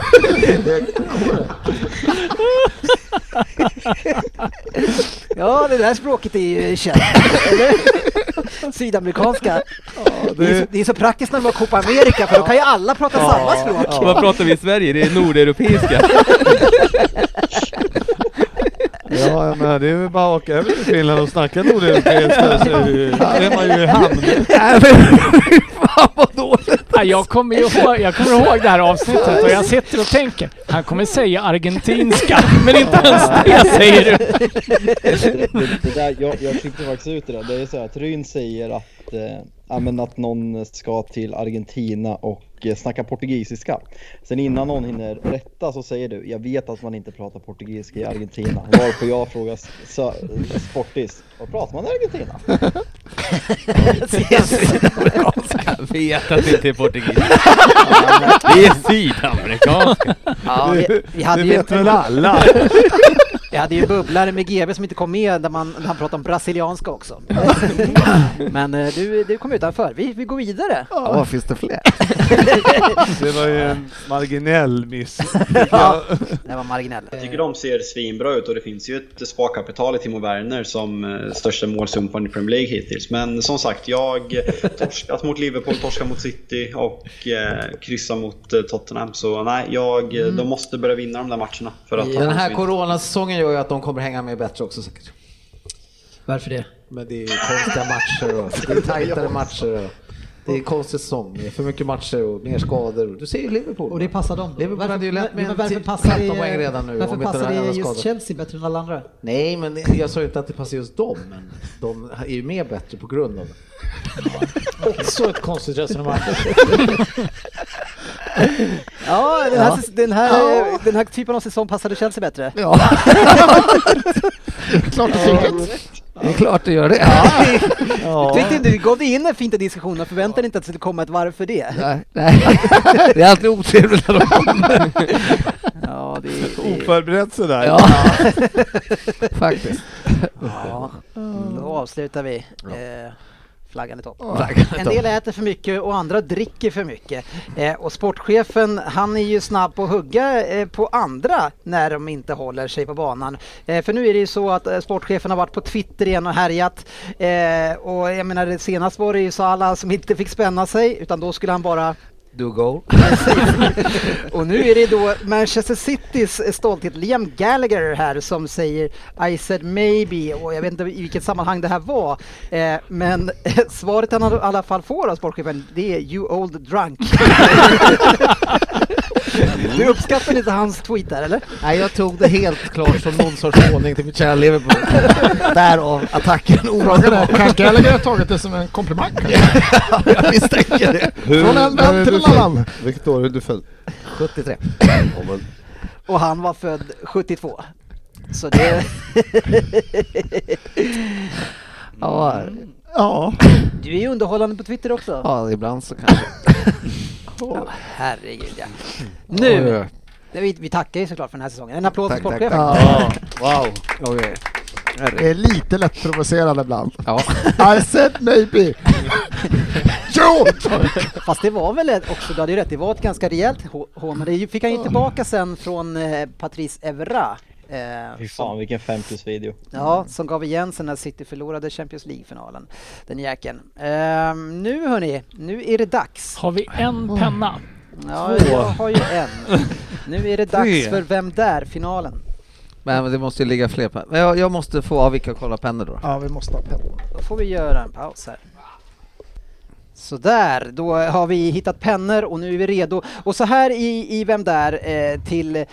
Speaker 1: Ja, det där språket är ju känt. Eller? Sydamerikanska. det... är så, det är så praktiskt när man var Copa America för då kan ju alla prata samma språk.
Speaker 3: Vad pratar vi i Sverige? Det är nordeuropeiska.
Speaker 9: Ja, jag menar, det är väl bara att åka över till Finland och snacka nordeuropeiska så är det ju- då är man ju i hamn.
Speaker 5: Ja, jag, kommer ju ihåg, jag kommer ihåg det här avsnittet och jag sitter och tänker, han kommer säga argentinska, men inte ens det säger du.
Speaker 30: det, det, det där, jag, jag klippte faktiskt ut det där. Det är så här att Ryn säger att, eh, ja, men att någon ska till Argentina och eh, snacka portugisiska. Sen innan någon hinner rätta så säger du, jag vet att man inte pratar portugisiska i Argentina. Varpå jag frågar s- så, Sportis, vad pratar man i Argentina?
Speaker 3: Jag vet att det inte är portugis. Det är sydamerikanska.
Speaker 1: Ja, vi, vi hade
Speaker 3: Det
Speaker 1: ju...
Speaker 3: vet väl alla.
Speaker 1: Vi hade ju bubblare med GB som inte kom med där man, där han pratade om brasilianska också. Men eh, du, du kom utanför. Vi, vi går vidare.
Speaker 9: Ja,
Speaker 2: finns det fler?
Speaker 9: Det var ju en marginell miss.
Speaker 1: Ja, det var marginell.
Speaker 11: Jag tycker de ser svinbra ut och det finns ju ett sparkapital i Timo Werner som eh, största målsumparen i Premier League hittills. Men som sagt, jag eh, torskat mot Liverpool, torskat mot City och eh, kryssar mot eh, Tottenham. Så nej, jag, eh,
Speaker 1: Mm.
Speaker 11: de måste börja vinna de där matcherna. För att
Speaker 31: Den
Speaker 11: annars
Speaker 31: här
Speaker 11: vinner-
Speaker 31: coronasäsongen gör ju att de kommer hänga med bättre också säkert.
Speaker 13: Varför det?
Speaker 31: Men det är ju konstiga matcher och det är tajtare matcher och det är konstig säsong. Det är för mycket matcher och mer skador. Du ser ju Liverpool.
Speaker 13: Och det passar dem.
Speaker 31: Liverpool hade ju lätt med
Speaker 13: men varför
Speaker 31: till-
Speaker 13: passar
Speaker 31: 15
Speaker 13: det-
Speaker 31: poäng redan nu.
Speaker 13: Varför
Speaker 31: om inte den
Speaker 13: passar
Speaker 31: här
Speaker 13: det
Speaker 31: jävla
Speaker 13: just
Speaker 31: skadan.
Speaker 13: Chelsea bättre än alla andra?
Speaker 31: Nej, men jag sa ju inte att det passar just dem, men de är ju mer bättre på grund av det.
Speaker 8: Också ett konstigt resonemang.
Speaker 1: Ja, den här,
Speaker 31: Ja.
Speaker 1: säs- Den, här, eh, den här typen av säsong passade Chelsea bättre. Ja.
Speaker 4: Klart
Speaker 1: och
Speaker 4: tydligt.
Speaker 2: Det är klart du gör det.
Speaker 1: Ja. Tyckte inte, du gav dig in i en fint i diskussionen och förväntade dig inte att det skulle komma ett varv för det.
Speaker 2: Nej, nej. Det är alltid otrevligt när de kommer.
Speaker 1: Ja, det är...
Speaker 31: Oh.
Speaker 9: Oförberett sådär.
Speaker 1: Ja.
Speaker 2: Faktiskt.
Speaker 1: Ja, då avslutar vi. Eh, Flaggan i topp.
Speaker 2: Flaggan i
Speaker 1: En
Speaker 2: topp.
Speaker 1: del äter för mycket och andra dricker för mycket. Eh, och sportchefen han är ju snabb på att hugga eh, på andra när de inte håller sig på banan. Eh, för nu är det ju så att eh, sportchefen har varit på Twitter igen och härjat. Eh, och jag menar det senast var det ju så alla som inte fick spänna sig utan då skulle han bara
Speaker 2: Do goal.
Speaker 1: och nu är det då Manchester Citys eh, stolthet Liam Gallagher här som säger I said maybe och jag vet inte i vilket sammanhang det här var. Eh, men svaret han i alla fall får av sportchefen det är You old drunk. du uppskattar inte hans tweet där eller?
Speaker 31: Nej, jag tog det helt klart som någon sorts håning till mitt kära Liverpool. Därav attacken omedelbart.
Speaker 4: Kan Gallagher ha tagit det som en komplimang?
Speaker 31: Jag misstänker det.
Speaker 1: Från en vän
Speaker 29: när är
Speaker 1: till
Speaker 29: du
Speaker 1: en
Speaker 29: född?
Speaker 1: annan.
Speaker 29: Vilket år är du född?
Speaker 31: 73.
Speaker 1: Och han var född 72. Så det...
Speaker 2: Ja,
Speaker 1: ja. Du är ju underhållande på Twitter också.
Speaker 2: ja, ibland så kanske.
Speaker 1: Ja, herregud ja.
Speaker 2: Oj,
Speaker 1: Nu!
Speaker 2: oj.
Speaker 1: Vi, vi tackar ju såklart för den här säsongen. En applåd till
Speaker 2: Tack, tack,
Speaker 1: sportchefen.
Speaker 4: tack.
Speaker 2: Wow. Okej.
Speaker 4: Det är lite lättprovocerande ibland.
Speaker 2: Ja.
Speaker 4: I said maybe. Jo!
Speaker 1: Fast det var väl ett- också, du hade ju rätt, det var ett ganska rejält hå- hån, men det ju- fick han ju tillbaka sen från eh, Patrice Evra. Eh,
Speaker 30: Fy fan vilken 5 plus video.
Speaker 1: Ja, som gav igen sen när City förlorade Champions League-finalen. Den jäkeln. Eh, nu hörni, nu är det dags.
Speaker 5: Har vi en penna?
Speaker 1: Ja,
Speaker 5: Två.
Speaker 1: jag har ju en. Nu är det
Speaker 2: Tre.
Speaker 1: dags för Vem Där-finalen.
Speaker 2: Men det måste ju ligga fler på. Men jag, jag måste få avvika och kolla pennor då.
Speaker 13: Ja, vi måste ha penna.
Speaker 1: Då får vi göra en paus här. Sådär, då har vi hittat pennor och nu är vi redo. Och så här i, i Vem där eh, till eh,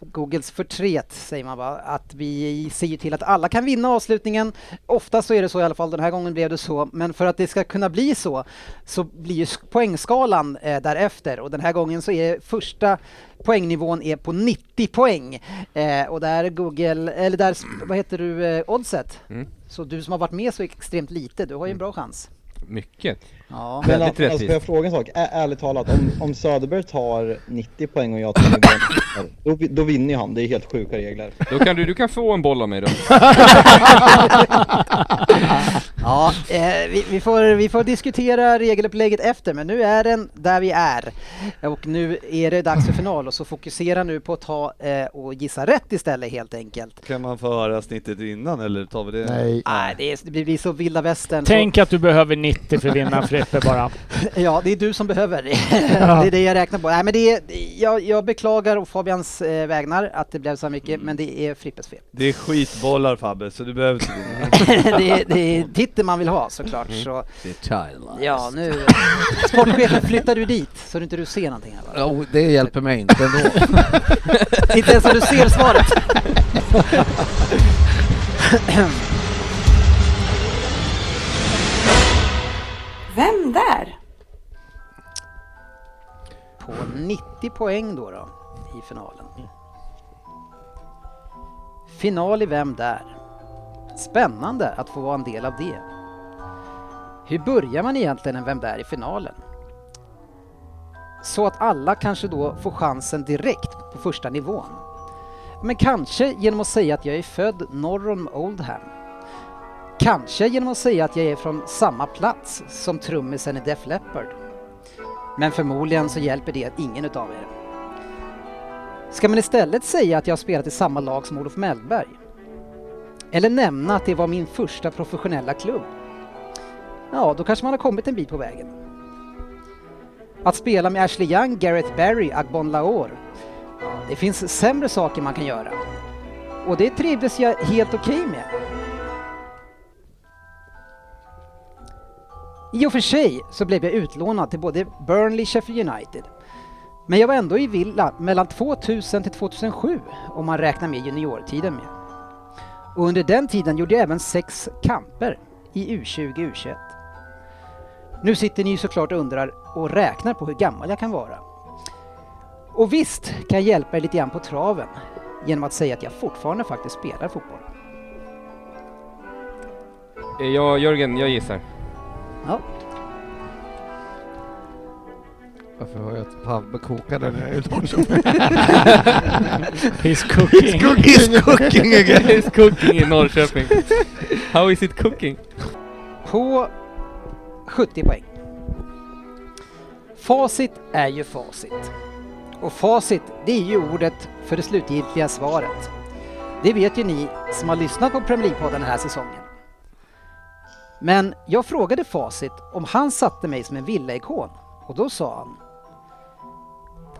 Speaker 1: Googles förtret säger man bara, att vi ser ju till att alla kan vinna avslutningen. Ofta så är det så i alla fall, den här gången blev det så, men för att det ska kunna bli så så blir ju sk- poängskalan eh, därefter och den här gången så är första poängnivån är på 90 poäng eh, och där Google, eller där, sp- vad heter du, eh, oddset?
Speaker 12: Mm.
Speaker 1: Så du som har varit med så extremt lite, du har ju en bra chans.
Speaker 12: Mycket.
Speaker 1: Ja.
Speaker 30: Men
Speaker 12: Väldigt
Speaker 30: alltså, alltså, får jag
Speaker 12: rättvist.
Speaker 30: fråga en sak? Ä- ärligt talat, om, om Söderberg tar 90 poäng och jag tar 90 poäng, då, vi- då vinner ju han. Det är helt sjuka regler.
Speaker 3: Då kan du, du kan få en boll av mig då.
Speaker 1: Ja, eh, vi, vi, får, vi får diskutera regelupplägget efter, men nu är den där vi är. Och nu är det dags för final och så fokusera nu på att ta eh, och gissa rätt istället helt enkelt.
Speaker 9: Kan man få höra snittet innan eller tar vi det?
Speaker 4: Nej.
Speaker 1: Nej, det, är, det blir så vilda västern.
Speaker 5: Tänk att du behöver 90 för att vinna Frippe bara.
Speaker 1: Ja, det är du som behöver. det är det jag räknar på. Nej, men det är, jag, jag beklagar å Fabians eh, vägnar att det blev så här mycket, men det är Frippes fel.
Speaker 9: Det är skitbollar Fabbe, så du behöver inte vinna.
Speaker 1: det, är, det är titeln man vill ha såklart. Så.
Speaker 2: Detaljlöst.
Speaker 1: Ja, nu... Sportchefen, flyttar du dit så du inte du ser någonting? Här, va?
Speaker 2: Jo, det hjälper mig inte ändå.
Speaker 1: inte ens om du ser svaret.
Speaker 14: Vem där?
Speaker 1: På 90 poäng då, då i finalen. Final i Vem där? Spännande att få vara en del av det. Hur börjar man egentligen en Vem där i finalen? Så att alla kanske då får chansen direkt på första nivån. Men kanske genom att säga att jag är född norr om Oldham. Kanske genom att säga att jag är från samma plats som trummisen i Def Leppard. Men förmodligen så hjälper det ingen utav er. Ska man istället säga att jag har spelat i samma lag som Olof Mellberg? Eller nämna att det var min första professionella klubb? Ja, då kanske man har kommit en bit på vägen. Att spela med Ashley Young, Gareth Barry, Agbon Lahore. Ja, Det finns sämre saker man kan göra. Och det trivdes jag helt okej med. I och för sig så blev jag utlånad till både Burnley och Sheffield United. Men jag var ändå i Villa mellan 2000 till 2007 om man räknar med juniortiden med. Och under den tiden gjorde jag även sex kamper i U20 U21. Nu sitter ni ju såklart och undrar och räknar på hur gammal jag kan vara. Och visst kan jag hjälpa er lite grann på traven genom att säga att jag fortfarande faktiskt spelar fotboll.
Speaker 3: Eh, Jag, Jörgen, jag gissar.
Speaker 1: Ja.
Speaker 2: Varför har jag typ ett Fabbe kokar den här lunchen?
Speaker 5: He's cooking.
Speaker 2: He's cooking, he's cooking again.
Speaker 3: He's cooking i Norrköping. How is it cooking?
Speaker 1: På 70 poäng. Facit är ju facit. Och facit, det är ju ordet för det slutgiltiga svaret. Det vet ju ni som har lyssnat på Premier League-podden den här säsongen. Men jag frågade Facit om han satte mig som en villaikon och då sa han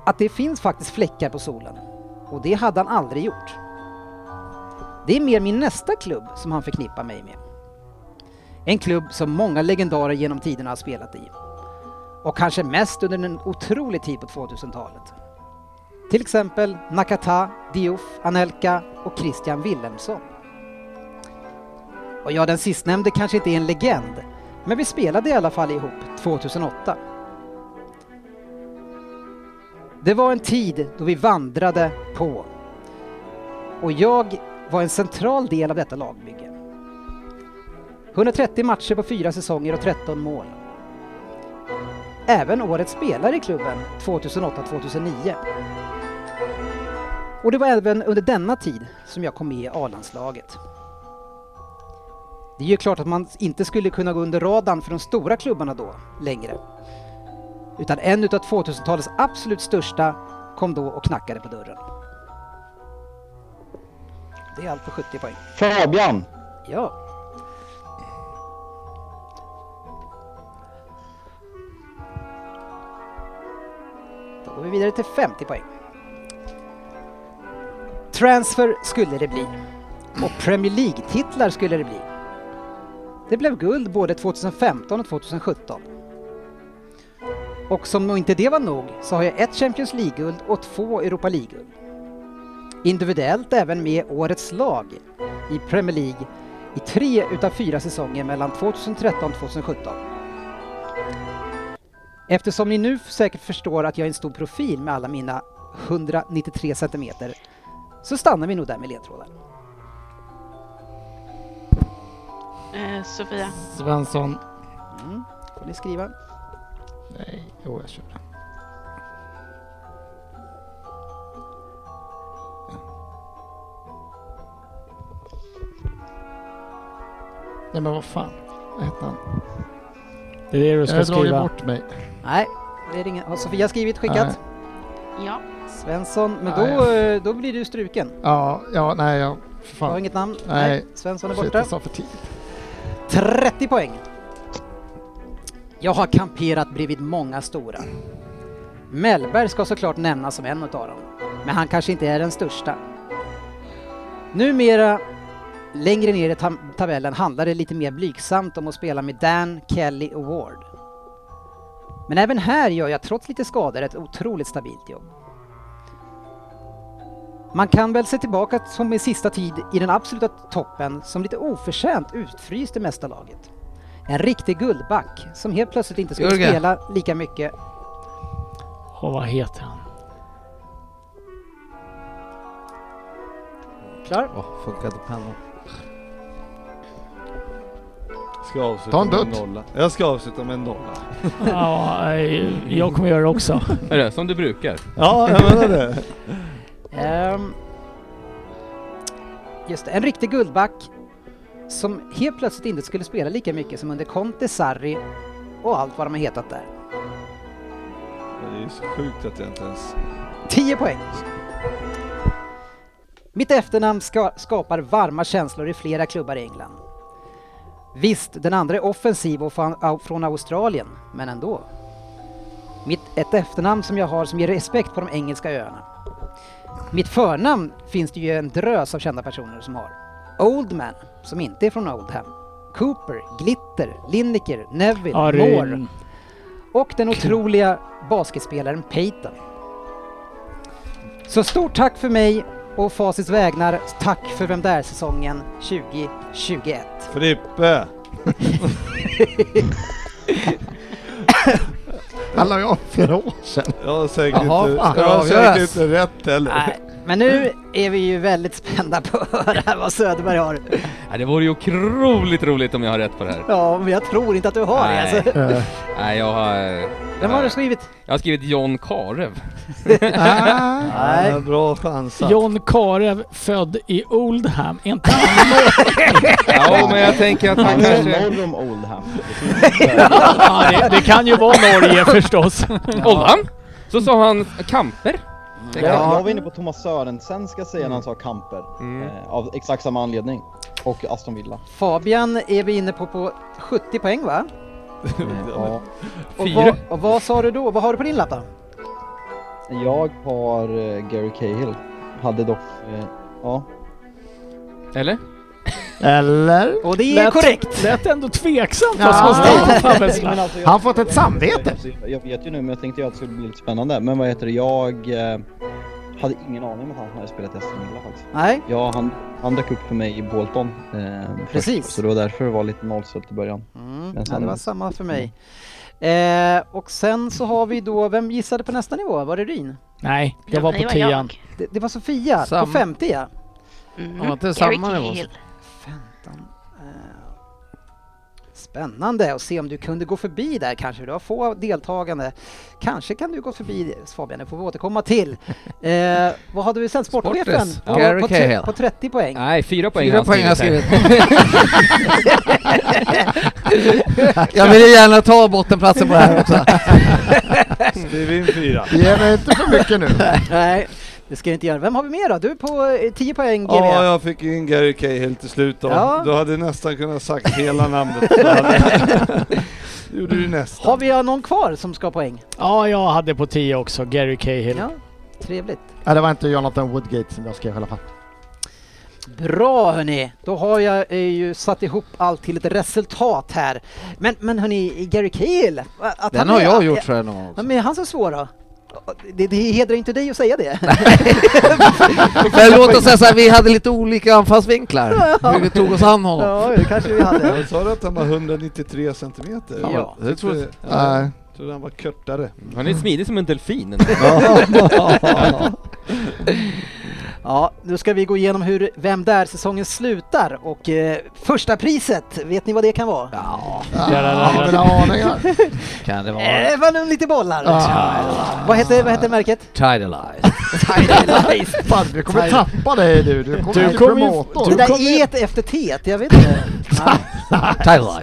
Speaker 1: att det finns faktiskt fläckar på solen och det hade han aldrig gjort. Det är mer min nästa klubb som han förknippar mig med. En klubb som många legendarer genom tiderna har spelat i. Och kanske mest under en otrolig tid på 2000-talet. Till exempel Nakata, Diouf, Anelka och Christian Wilhelmsson. Och ja, den sistnämnde kanske inte är en legend, men vi spelade i alla fall ihop 2008. Det var en tid då vi vandrade på. Och jag var en central del av detta lagbygge. 130 matcher på fyra säsonger och 13 mål. Även årets spelare i klubben 2008-2009. Och det var även under denna tid som jag kom med i A-landslaget. Det är ju klart att man inte skulle kunna gå under radarn för de stora klubbarna då, längre. Utan en utav 2000-talets absolut största kom då och knackade på dörren. Det är allt på 70 poäng.
Speaker 30: Fabian!
Speaker 1: Ja. Då går vi vidare till 50 poäng. Transfer skulle det bli. Och Premier League-titlar skulle det bli. Det blev guld både 2015 och 2017. Och som nog inte det var nog så har jag ett Champions League-guld och två Europa League-guld. individuellt även med årets lag i Premier League i tre utav fyra säsonger mellan 2013 och 2017. Eftersom ni nu säkert förstår att jag är en stor profil med alla mina 193 centimeter så stannar vi nog där med ledtrådar.
Speaker 6: Eh, Sofia.
Speaker 5: Svensson.
Speaker 1: Mm. Får ni skriva.
Speaker 5: Nej, jo jag kör.
Speaker 4: Nej men vad fan. Vad hette han?
Speaker 5: Det är det du
Speaker 4: Jag
Speaker 5: ska
Speaker 4: har dragit
Speaker 5: skriva.
Speaker 4: bort mig.
Speaker 1: Nej, det är ingen. Har Sofia skrivit skickat?
Speaker 6: Ja.
Speaker 1: Svensson, men
Speaker 4: Nej.
Speaker 1: då, eh, då blir du struken.
Speaker 4: Ja, ja, nej, jag... För fan.
Speaker 1: Du har inget namn?
Speaker 4: Nej.
Speaker 1: Svensson är
Speaker 4: Shit,
Speaker 1: borta.
Speaker 4: jag sa för tidigt.
Speaker 1: 30 poäng. Jag har kamperat bredvid många stora. Mellberg ska såklart nämnas som en utav dem, men han kanske inte är den största. Numera, längre ner i tam- tabellen, handlar det lite mer blygsamt om att spela med Dan Kelly och Ward. Men även här gör jag trots lite skador ett otroligt stabilt jobb. Man kan väl se tillbaka som i sista tid i den absoluta toppen som lite oförtjänt utfryst det mesta laget. En riktig guldback som helt plötsligt inte skulle
Speaker 5: Jörgen.
Speaker 1: spela lika mycket.
Speaker 5: Och vad heter han?
Speaker 1: Klar?
Speaker 2: Åh, funkade pennan.
Speaker 9: Ska avsluta
Speaker 2: Ta en
Speaker 9: med en
Speaker 2: dutt.
Speaker 9: nolla. Jag ska avsluta med en nolla.
Speaker 5: Ja, eh, jag kommer göra det också.
Speaker 32: Är det som du brukar?
Speaker 9: Ja, jag menar det.
Speaker 1: Ehm, just det, en riktig guldback som helt plötsligt inte skulle spela lika mycket som under Conte, Sarri och allt vad de har hetat där.
Speaker 9: Men Det är ju så sjukt att jag inte ens...
Speaker 1: 10 poäng. Mitt efternamn ska, skapar varma känslor i flera klubbar i England. Visst, den andra är offensiv och fan- au- från Australien, men ändå. Mitt, ett efternamn som jag har som ger respekt på de engelska öarna. Mitt förnamn finns det ju en drös av kända personer som har. Oldman, som inte är från Oldham. Cooper, Glitter, Lineker, Neville,
Speaker 5: Aryn.
Speaker 1: Moore. Och den otroliga basketspelaren Peyton. Så stort tack för mig och Facits vägnar, tack för Vem Där-säsongen 2021.
Speaker 9: Frippe!
Speaker 4: Alla jag flera år sedan.
Speaker 9: Jag har säkert
Speaker 1: Jaha,
Speaker 9: inte,
Speaker 1: fan,
Speaker 9: jag
Speaker 1: det
Speaker 9: har säkert
Speaker 1: avgörs.
Speaker 9: inte rätt heller.
Speaker 1: Nej, men nu är vi ju väldigt spända på att höra vad Söderberg har.
Speaker 32: Nej, det vore ju otroligt roligt om jag har rätt på det här.
Speaker 1: Ja, men jag tror inte att du har det alltså.
Speaker 32: Nej, jag har...
Speaker 1: Vem har du skrivit?
Speaker 32: Jag har skrivit John Karev.
Speaker 4: Ah.
Speaker 5: Nej.
Speaker 9: Ja, bra chansat.
Speaker 5: John Karev, född i Oldham. Är inte han
Speaker 32: Ja, men jag tänker att han
Speaker 5: Han är
Speaker 32: kanske...
Speaker 5: norr
Speaker 32: om Oldham.
Speaker 5: Ja, det- det kan ju vara Norge förstås.
Speaker 32: Oldham? Så sa han kamper.
Speaker 11: Jag, jag var inne på Thomas Sörensen ska säga
Speaker 32: Mm.
Speaker 11: när han sa Kamper. Eh, av exakt samma anledning. Och Aston Villa.
Speaker 1: Fabian är vi inne på på 70 poäng va?
Speaker 11: Ja.
Speaker 1: Och vad, och vad sa du då? Vad har du på din lapp då?
Speaker 11: Jag har eh, Gary Cahill. Hade dock... Eh, ja.
Speaker 32: Eller?
Speaker 4: Eller?
Speaker 1: Och
Speaker 11: det är korrekt.
Speaker 5: Lät ändå tveksamt
Speaker 11: Ja.
Speaker 5: vad som stod på
Speaker 11: Men
Speaker 5: Fabbes
Speaker 11: alltså, jag-
Speaker 5: lapp.
Speaker 11: Alltså, Jag, jag vet ju nu, men jag tänkte ju att det skulle bli lite spännande. Men vad heter det, jag eh, hade ingen aning om att han hade spelat i Aston Villa faktiskt.
Speaker 1: Nej.
Speaker 11: Ja, han, han dök upp för mig i Bolton. Eh, först.
Speaker 1: Precis.
Speaker 11: Så det var därför det var lite nollsläpp i början.
Speaker 1: Mm,
Speaker 11: Men
Speaker 1: ja,
Speaker 11: sen-
Speaker 1: det var samma för mig. Eh, och sen så har vi då, vem gissade på nästa nivå? Var det Ryn?
Speaker 5: Nej, jag var på tian.
Speaker 1: Det, det var Sofia
Speaker 5: Sam-
Speaker 1: på 50 ja.
Speaker 6: Mm.
Speaker 2: Var inte samma Gary nivå? Cahill.
Speaker 1: 15. eh, Spännande att se om du kunde gå förbi där kanske. Du har få deltagande. Kanske kan du gå förbi Fabian, det får vi återkomma till. Eh, vad hade vi sen? Sportchefen?
Speaker 32: Sportis.
Speaker 1: Ja,
Speaker 32: Gary
Speaker 1: på, tre-
Speaker 32: Cahill.
Speaker 1: på 30 poäng.
Speaker 32: Nej, fyra poäng
Speaker 1: Fyra
Speaker 32: har han
Speaker 1: poäng har
Speaker 32: skrivit
Speaker 1: jag
Speaker 32: här.
Speaker 2: Jag vill gärna ta bottenplatsen på det här också.
Speaker 9: Skriv in fyra.
Speaker 4: Ge mig inte för mycket nu.
Speaker 1: Nej, det ska jag inte göra. Vem har vi mer då? Du är på eh, 10 poäng GV.
Speaker 9: Ja, jag fick in Gary Cahill till slut då.
Speaker 1: Ja.
Speaker 9: Du hade nästan kunnat sagt hela namnet. Då hade- Det gjorde du nästan.
Speaker 1: Har vi någon kvar som ska ha poäng?
Speaker 5: Ja, jag hade på tio också, Gary Cahill.
Speaker 1: Ja, trevligt.
Speaker 4: Nej, det var inte Jonathan Woodgate som jag skrev i alla fall.
Speaker 1: Bra hörni, då har jag eh, ju satt ihop allt till ett resultat här. Men, men hörni, Gary Cahill. att
Speaker 2: Den
Speaker 1: han
Speaker 2: har
Speaker 1: är-
Speaker 2: jag gjort tror jag någon gång
Speaker 1: Ja,
Speaker 2: också.
Speaker 1: men är han så svår då? Det, det hedrar inte dig att säga det.
Speaker 2: Men låt oss säga så här, vi hade lite olika anfallsvinklar. Hur vi tog oss an honom.
Speaker 1: Ja, det kanske vi hade.
Speaker 9: Sa du att han var 193 centimeter?
Speaker 2: Ja,
Speaker 9: Jag
Speaker 2: det
Speaker 9: trodde-
Speaker 2: tror jag.
Speaker 9: Ja,
Speaker 2: Nej.
Speaker 9: jag trodde han var kortare.
Speaker 12: Han är smidig som en delfin.
Speaker 1: Ja, nu ska vi gå igenom hur Vem Där-säsongen slutar och eh, första priset, vet ni vad det kan vara? Ja,
Speaker 4: har vi några aningar?
Speaker 2: Kan det vara?
Speaker 1: Eh, Det var nog lite bollar.
Speaker 4: Ah.
Speaker 1: Vad, heter, vad heter märket?
Speaker 2: Tidalize.
Speaker 4: Fan, du kommer tappa dig du. Du kommer bli promotor.
Speaker 1: Det där e efter t jag vet inte.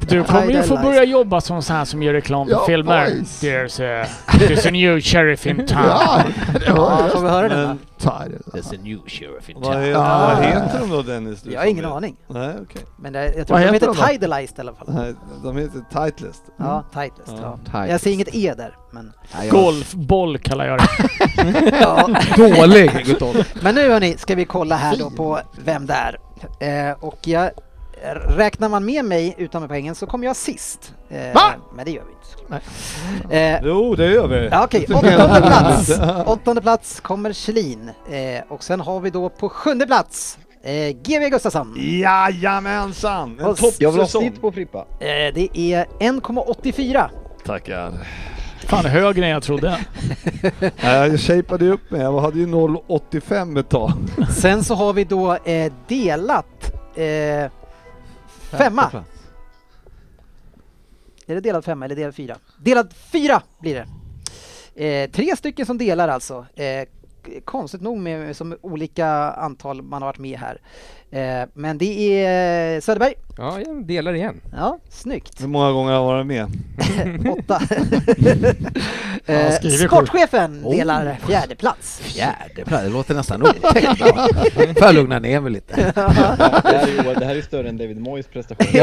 Speaker 5: Du kommer ju få
Speaker 1: Tidalight.
Speaker 5: börja jobba som sån här som gör reklam för
Speaker 1: Ja,
Speaker 5: filmer.
Speaker 1: boys.
Speaker 5: There's a, there's a new sheriff in town.
Speaker 1: Ja, det var Ja, just- får vi höra den
Speaker 9: Men-
Speaker 12: There's a new sheriff in
Speaker 9: Vad
Speaker 12: town.
Speaker 9: heter, vad heter de då Dennis? Du
Speaker 1: Jag har
Speaker 9: som
Speaker 1: ingen
Speaker 9: vet?
Speaker 1: aning.
Speaker 9: Nej, okej.
Speaker 1: Men det- jag tror de heter
Speaker 9: då?
Speaker 1: Tidalized i alla fall.
Speaker 9: Nej, de heter Titleist.
Speaker 1: Ja, Titleist. Ja. Jag ser inget e där. Men...
Speaker 5: Golfboll kallar jag det.
Speaker 1: Ja.
Speaker 5: Dålig.
Speaker 1: Men nu hörni, ska vi kolla här då på vem det är. Eh, och jag, räknar man med mig utan med poängen så kommer jag sist. Eh,
Speaker 9: Va?
Speaker 1: Men det gör vi inte. Eh,
Speaker 9: Jo, det gör vi.
Speaker 1: Ja, Okej, åttonde plats. åttonde plats kommer Kjellin. Eh, och sen har vi då på sjunde plats eh, GV Gustafsson.
Speaker 9: Jajamensan! En
Speaker 1: Och s-
Speaker 9: toppsäsong.
Speaker 30: på Frippa.
Speaker 1: Eh, det är 1,84.
Speaker 9: Tackar.
Speaker 5: Fan, högre än jag trodde.
Speaker 9: Nej, Jag shapeade ju upp mig, jag hade ju 0,85 ett tag.
Speaker 1: Sen så har vi då eh, delat eh, femma.
Speaker 9: plats.
Speaker 1: Är det delad femma eller delad fyra? Delad fyra blir det. Eh, tre stycken som delar alltså. Eh, k- konstigt nog med som olika antal man har varit med här. Eh, men det är Söderberg.
Speaker 12: Ja, jag delar igen.
Speaker 1: Ja, snyggt.
Speaker 9: Hur många gånger har jag varit med?
Speaker 1: Åtta.
Speaker 9: Han
Speaker 1: eh,
Speaker 9: skriver sjukt.
Speaker 1: sportchefen
Speaker 9: Oh.
Speaker 1: delar fjärde plats.
Speaker 2: Fjärde plats, det låter nästan otäckt. va? Får jag lugna ner mig lite?
Speaker 30: Ja, det, här är, ju- det här är större än David Moyes prestation.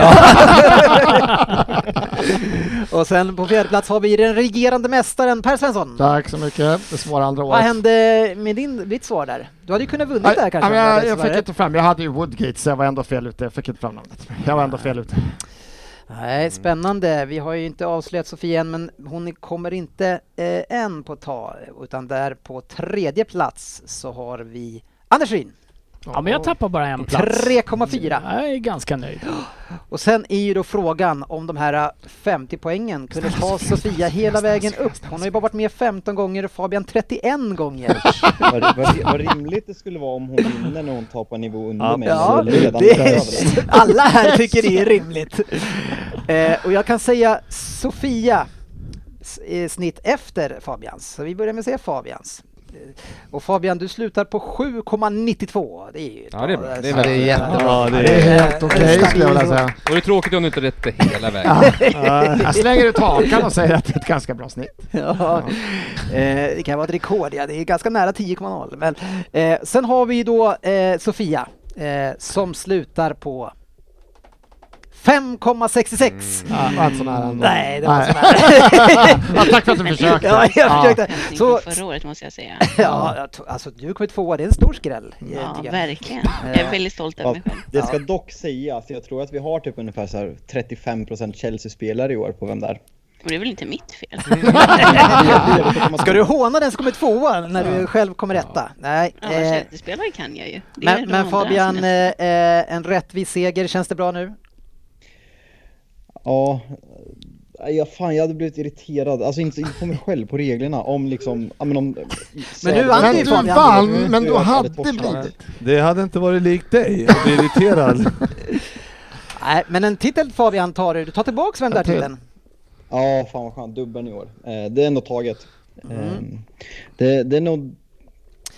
Speaker 1: Och sen på fjärde plats har vi den regerande mästaren Per Svensson.
Speaker 4: Tack så mycket. Det svåra andra
Speaker 1: Vad
Speaker 4: året.
Speaker 1: hände med din, ditt svar där? Du hade ju kunnat vunnit det här kanske. om
Speaker 4: Ja, men
Speaker 1: du hade
Speaker 4: jag, jag
Speaker 1: svarat
Speaker 4: fick
Speaker 1: rätt.
Speaker 4: inte fram, jag hade ju Woodgate så jag var ändå fel ute. Jag fick inte fram namnet. Jag var ändå fel ute.
Speaker 1: Nej, spännande. Vi har ju inte avslöjat Sofie än, men hon kommer inte eh, än på ta, utan där på tredje plats så har vi Anders Ryn.
Speaker 5: Ja, men jag tappar bara en plats.
Speaker 1: 3,4.
Speaker 5: Jag är ganska nöjd.
Speaker 1: Och sen är ju då frågan om de här eh, 50 poängen kunde ta Sofia hela vägen upp. Hon har ju bara varit med 15 gånger och Fabian 31 gånger.
Speaker 30: Vad, vad, vad rimligt det skulle vara om hon vinner när hon tar på en nivå under mig.
Speaker 1: Ja,
Speaker 30: Eller redan
Speaker 1: det
Speaker 30: över
Speaker 1: är,
Speaker 30: den.
Speaker 1: alla här tycker det är rimligt. Eh, och jag kan säga Sofia s- eh, snitt efter Fabians. Så vi börjar med att säga Fabians. Eh, Och Fabian, du slutar på 7,92. Det är ju
Speaker 12: Ja, det är bra.
Speaker 1: ett-
Speaker 12: bra.
Speaker 4: Ja, det är Det är helt okej, stabilt. skulle jag vilja säga.
Speaker 12: Och det är tråkigt om du inte rätt hela vägen.
Speaker 4: Ja. Jag slänger ut hakan och säger att det är ett ganska bra snitt.
Speaker 1: Ja. Eh, det kan vara ett rekord, ja. Det är ganska nära 10,0. Men, eh, sen har vi då eh, Sofia eh, som slutar på 5,66.
Speaker 12: Mm.
Speaker 4: Ja, det var inte så nära ändå.
Speaker 1: Nej, det var
Speaker 4: Nej.
Speaker 1: så nära.
Speaker 4: Ja, tack för att du försökte.
Speaker 1: Ja, jag
Speaker 4: Ja.
Speaker 1: försökte.
Speaker 6: Tänk
Speaker 1: Så,
Speaker 6: på förra året måste jag säga.
Speaker 1: ja, jag tror- alltså du kommer tvåa, det är en stor skräll. eh,
Speaker 6: Ja,
Speaker 1: tycker jag.
Speaker 6: verkligen. Jag är
Speaker 1: Eh,
Speaker 6: väldigt stolt över
Speaker 30: Ja,
Speaker 6: mig själv.
Speaker 30: det ska dock sägas, jag tror att vi har typ ungefär så här 35% Chelsea-spelare i år på vem där.
Speaker 6: Men det är väl inte mitt fel?
Speaker 1: Ska du håna den som kommer tvåa när du själv kommer etta? Nej.
Speaker 6: Ja,
Speaker 1: eh,
Speaker 6: Chelsea-spelare kan jag ju. Det är
Speaker 1: men
Speaker 6: de
Speaker 1: men
Speaker 6: andra
Speaker 1: Fabian,
Speaker 6: som
Speaker 1: eh,
Speaker 6: är-
Speaker 1: eh, en rättvis seger, känns det bra nu?
Speaker 30: Ja, ja, fan jag hade blivit irriterad, alltså inte inte på mig själv, på reglerna om liksom, ja men om...
Speaker 1: Men du vann Men ju, du Fabian. vann, men du hade
Speaker 30: blivit...
Speaker 9: Det hade inte varit likt dig, jag blir irriterad.
Speaker 1: Nej, men en titel Fabian tar du. Du tar tillbaks vem där titeln.
Speaker 30: Ja, fan vad skönt, dubbeln i år. Eh, Det är ändå taget.
Speaker 1: Mhm.
Speaker 30: Eh, Det, det är nog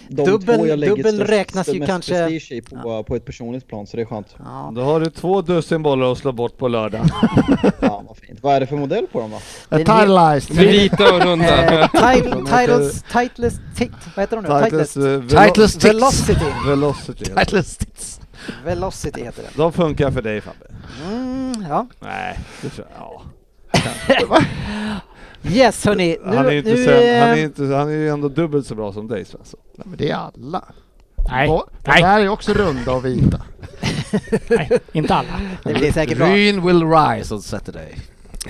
Speaker 30: de
Speaker 1: Dubbeln-
Speaker 30: två jag lägger
Speaker 1: dubbeln
Speaker 30: störst-
Speaker 1: räknas ju
Speaker 30: mest
Speaker 1: kanske-
Speaker 30: prestige i på, på ett personligt plan, så det är skönt.
Speaker 9: Då har du två dussin bollar att slå bort på lördag.
Speaker 30: Ja, vad fint. Vad är det för modell på dem då?
Speaker 4: Eh, Titleist.
Speaker 1: Eh, title- titles, titles, tit, vad heter de nu?
Speaker 9: Titleist, eh, velo-
Speaker 1: Titles Velocity.
Speaker 9: Velocity.
Speaker 1: Titles Velocity heter den.
Speaker 9: De funkar för dig Fabbe.
Speaker 1: Mm, ja.
Speaker 9: Nej, det tror jag. Ja.
Speaker 1: Yes hörni, Eh, nu,
Speaker 9: Han är, ju inte
Speaker 1: nu,
Speaker 9: sen, han, är
Speaker 1: eh,
Speaker 9: inte, han är ju ändå dubbelt så alltså. bra som dig Svensson. Nej,
Speaker 4: men det är alla.
Speaker 5: Nej.
Speaker 4: Och, Det här är också runda och vita.
Speaker 5: Inte alla.
Speaker 1: Det blir säkert bra.
Speaker 2: Ryn will rise on Saturday.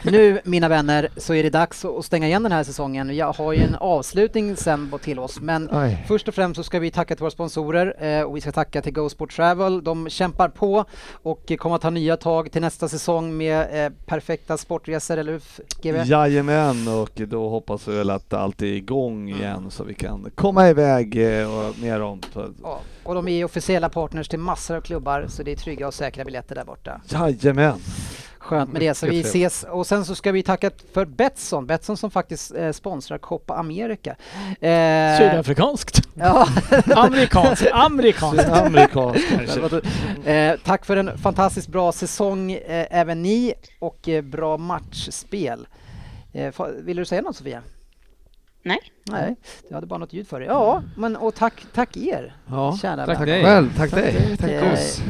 Speaker 1: Nu, mina vänner, så är det dags att stänga igen den här säsongen. Jag har ju en avslutning sen på- till oss, men
Speaker 31: Oj.
Speaker 1: först och främst så ska vi tacka till våra sponsorer eh, och vi ska tacka till Go Sport Travel. De kämpar på och kommer att ta nya tag till nästa säsong med eh, perfekta sportresor, eller hur F- GB?
Speaker 9: Jajamän, och då hoppas vi väl att allt är igång igen så vi kan komma iväg eh, och med dem. Så-
Speaker 1: Ja, och de är ju officiella partners till massor av klubbar, så det är trygga och säkra biljetter där borta.
Speaker 9: Jajamän!
Speaker 1: Skönt med det, så vi
Speaker 9: Mycket trevligt.
Speaker 1: ses. Och sen så ska vi tacka för Betsson, Betsson som faktiskt eh, sponsrar Copa America. Eh,
Speaker 5: Sydafrikanskt.
Speaker 1: Ja.
Speaker 5: Amerikanskt, amerikanskt. Sydamerikanskt kanske.
Speaker 1: Vad du- eh, tack för en fantastiskt bra säsong eh, även ni och eh, bra matchspel. Eh, fa- vill du säga något Sofia?
Speaker 6: Nej.
Speaker 1: Nej, du hade bara något ljud för dig. Ja, men och tack, tack er.
Speaker 2: Ja,
Speaker 1: kära
Speaker 2: tack
Speaker 1: vänner.
Speaker 2: dig. Själv, tack dig. Tack
Speaker 1: Eh,
Speaker 2: oss.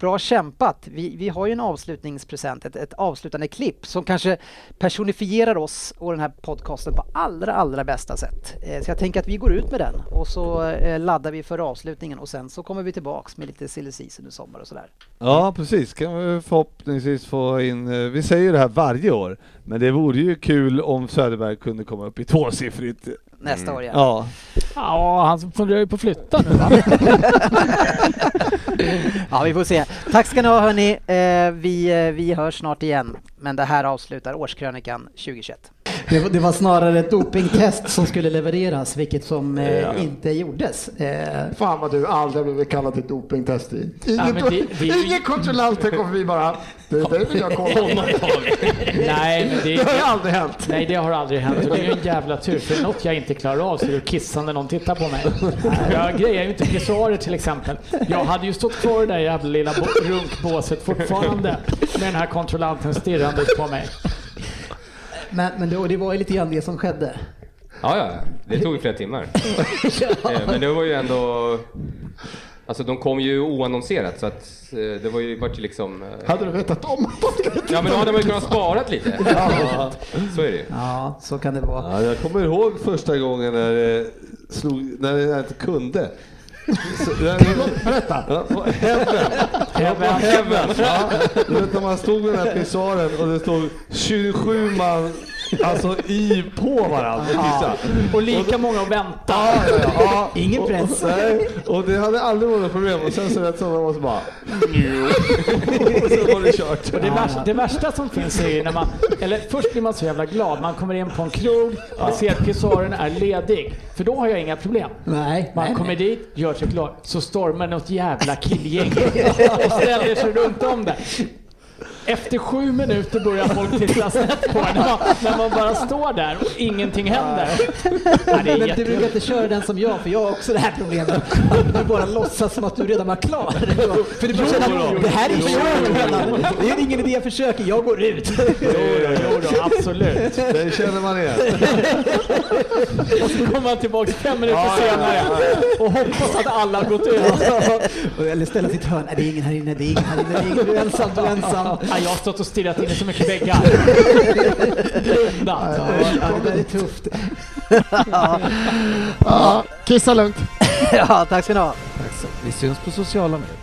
Speaker 1: Bra kämpat. Vi, vi har ju en avslutningspresent, ett, ett avslutande klipp som kanske personifierar oss och den här podcasten på allra, allra bästa sätt. Eh, Så jag tänker att vi går ut med den och så eh, laddar vi för avslutningen och sen så kommer vi tillbaks med lite silly season i sommar och sådär.
Speaker 9: Ja precis, kan vi förhoppningsvis få in, eh, vi säger ju det här varje år, men det vore ju kul om Söderberg kunde komma upp i tvåsiffrigt.
Speaker 1: Nästa år igen.
Speaker 9: Ja.
Speaker 5: Ja, han funderar ju på att flytta nu va?
Speaker 1: Ja, vi får se. Tack ska ni ha hörni. Eh, Vi, eh, vi hörs snart igen. Men det här avslutar årskrönikan 2021.
Speaker 13: Det var, det var snarare ett dopingtest som skulle levereras, vilket som
Speaker 4: Ja.
Speaker 13: eh, inte gjordes. Eh,
Speaker 4: Fan vad du aldrig har blivit kallad till dopingtest. i.
Speaker 13: Ja,
Speaker 4: Ingen,
Speaker 13: men det- det är ju-
Speaker 4: ingen kontrollant går förbi bara. Det är det jag
Speaker 5: Honom
Speaker 4: kollar.
Speaker 5: Nej, men det,
Speaker 4: Det har ju aldrig hänt.
Speaker 5: Nej, det har aldrig hänt. Och det är ju en jävla tur, för något jag inte klarar av så är det att kissa när någon tittar på mig. Jag grejar ju inte pissoarer till exempel. Jag hade ju stått kvar i det där jävla lilla bo- runkbåset fortfarande med den här kontrollanten stirrandes på mig.
Speaker 13: Men, men det, och det var ju lite grann det som skedde.
Speaker 3: Ja, ja, det tog ju flera timmar. Eh, Men det var ju ändå... Alltså de kom ju oannonserat så att eh, det var ju, vart ju liksom... eh,
Speaker 4: Hade du vetat om att de skulle
Speaker 3: Ja men då hade man ju kunnat sparat lite. Ja, Så är det ju.
Speaker 13: Ja, så kan det vara.
Speaker 29: Ja, jag kommer ihåg första gången när, det slog, när jag inte kunde.
Speaker 4: Berätta!
Speaker 29: Ja, på heaven! Ja, på heaven! Ja. Du vet när man stod med den här pissoaren och det stod 27 man alltså i på varandra typ och
Speaker 5: Ja.
Speaker 29: kissa.
Speaker 5: Och lika många att vänta.
Speaker 13: Ingen
Speaker 29: Och, nej, och det hade aldrig varit något problem och sen så rätt som det var så bara... och sen var det kört.
Speaker 5: Och det, värsta, det värsta som finns är ju när man, eller först blir man så jävla glad, man kommer in på en krog, man ser att pissoaren är ledig. För då har jag inga problem.
Speaker 13: Nej,
Speaker 5: Man
Speaker 13: nej,
Speaker 5: kommer dit, gör sig klar, så stormar något jävla killgäng och ställer sig runt om det. Efter sju minuter börjar folk titta snett på en när man, när man bara står där och ingenting händer. Ja, det är
Speaker 13: men du
Speaker 5: jättejobbigt.
Speaker 13: brukar inte köra den som jag, för jag har också det här problemet. Du bara låtsas som att du redan var klar. För du bara
Speaker 5: Jo
Speaker 13: känner
Speaker 5: då.
Speaker 13: att det här är
Speaker 5: Jo
Speaker 13: kört
Speaker 5: då.
Speaker 13: redan. Det är ingen idé jag försöker, jag går ut.
Speaker 5: absolut.
Speaker 29: Det känner man igen.
Speaker 5: Och så kommer man tillbaka fem minuter senare och hoppas att alla har gått ut.
Speaker 13: Eller ställa sitt hörn. Nej, det är ingen här inne, det är ingen här inne, det är ingen. Du är ensam, du är ensam.
Speaker 5: Ja, jag har stått och stirrat in i så mycket väggar. Blunda. alltså.
Speaker 13: Ja, ja, det där är tufft.
Speaker 4: Ja, kissa lugnt.
Speaker 1: ja, tack ska ni ha.
Speaker 2: Tack så. Vi syns på sociala medier.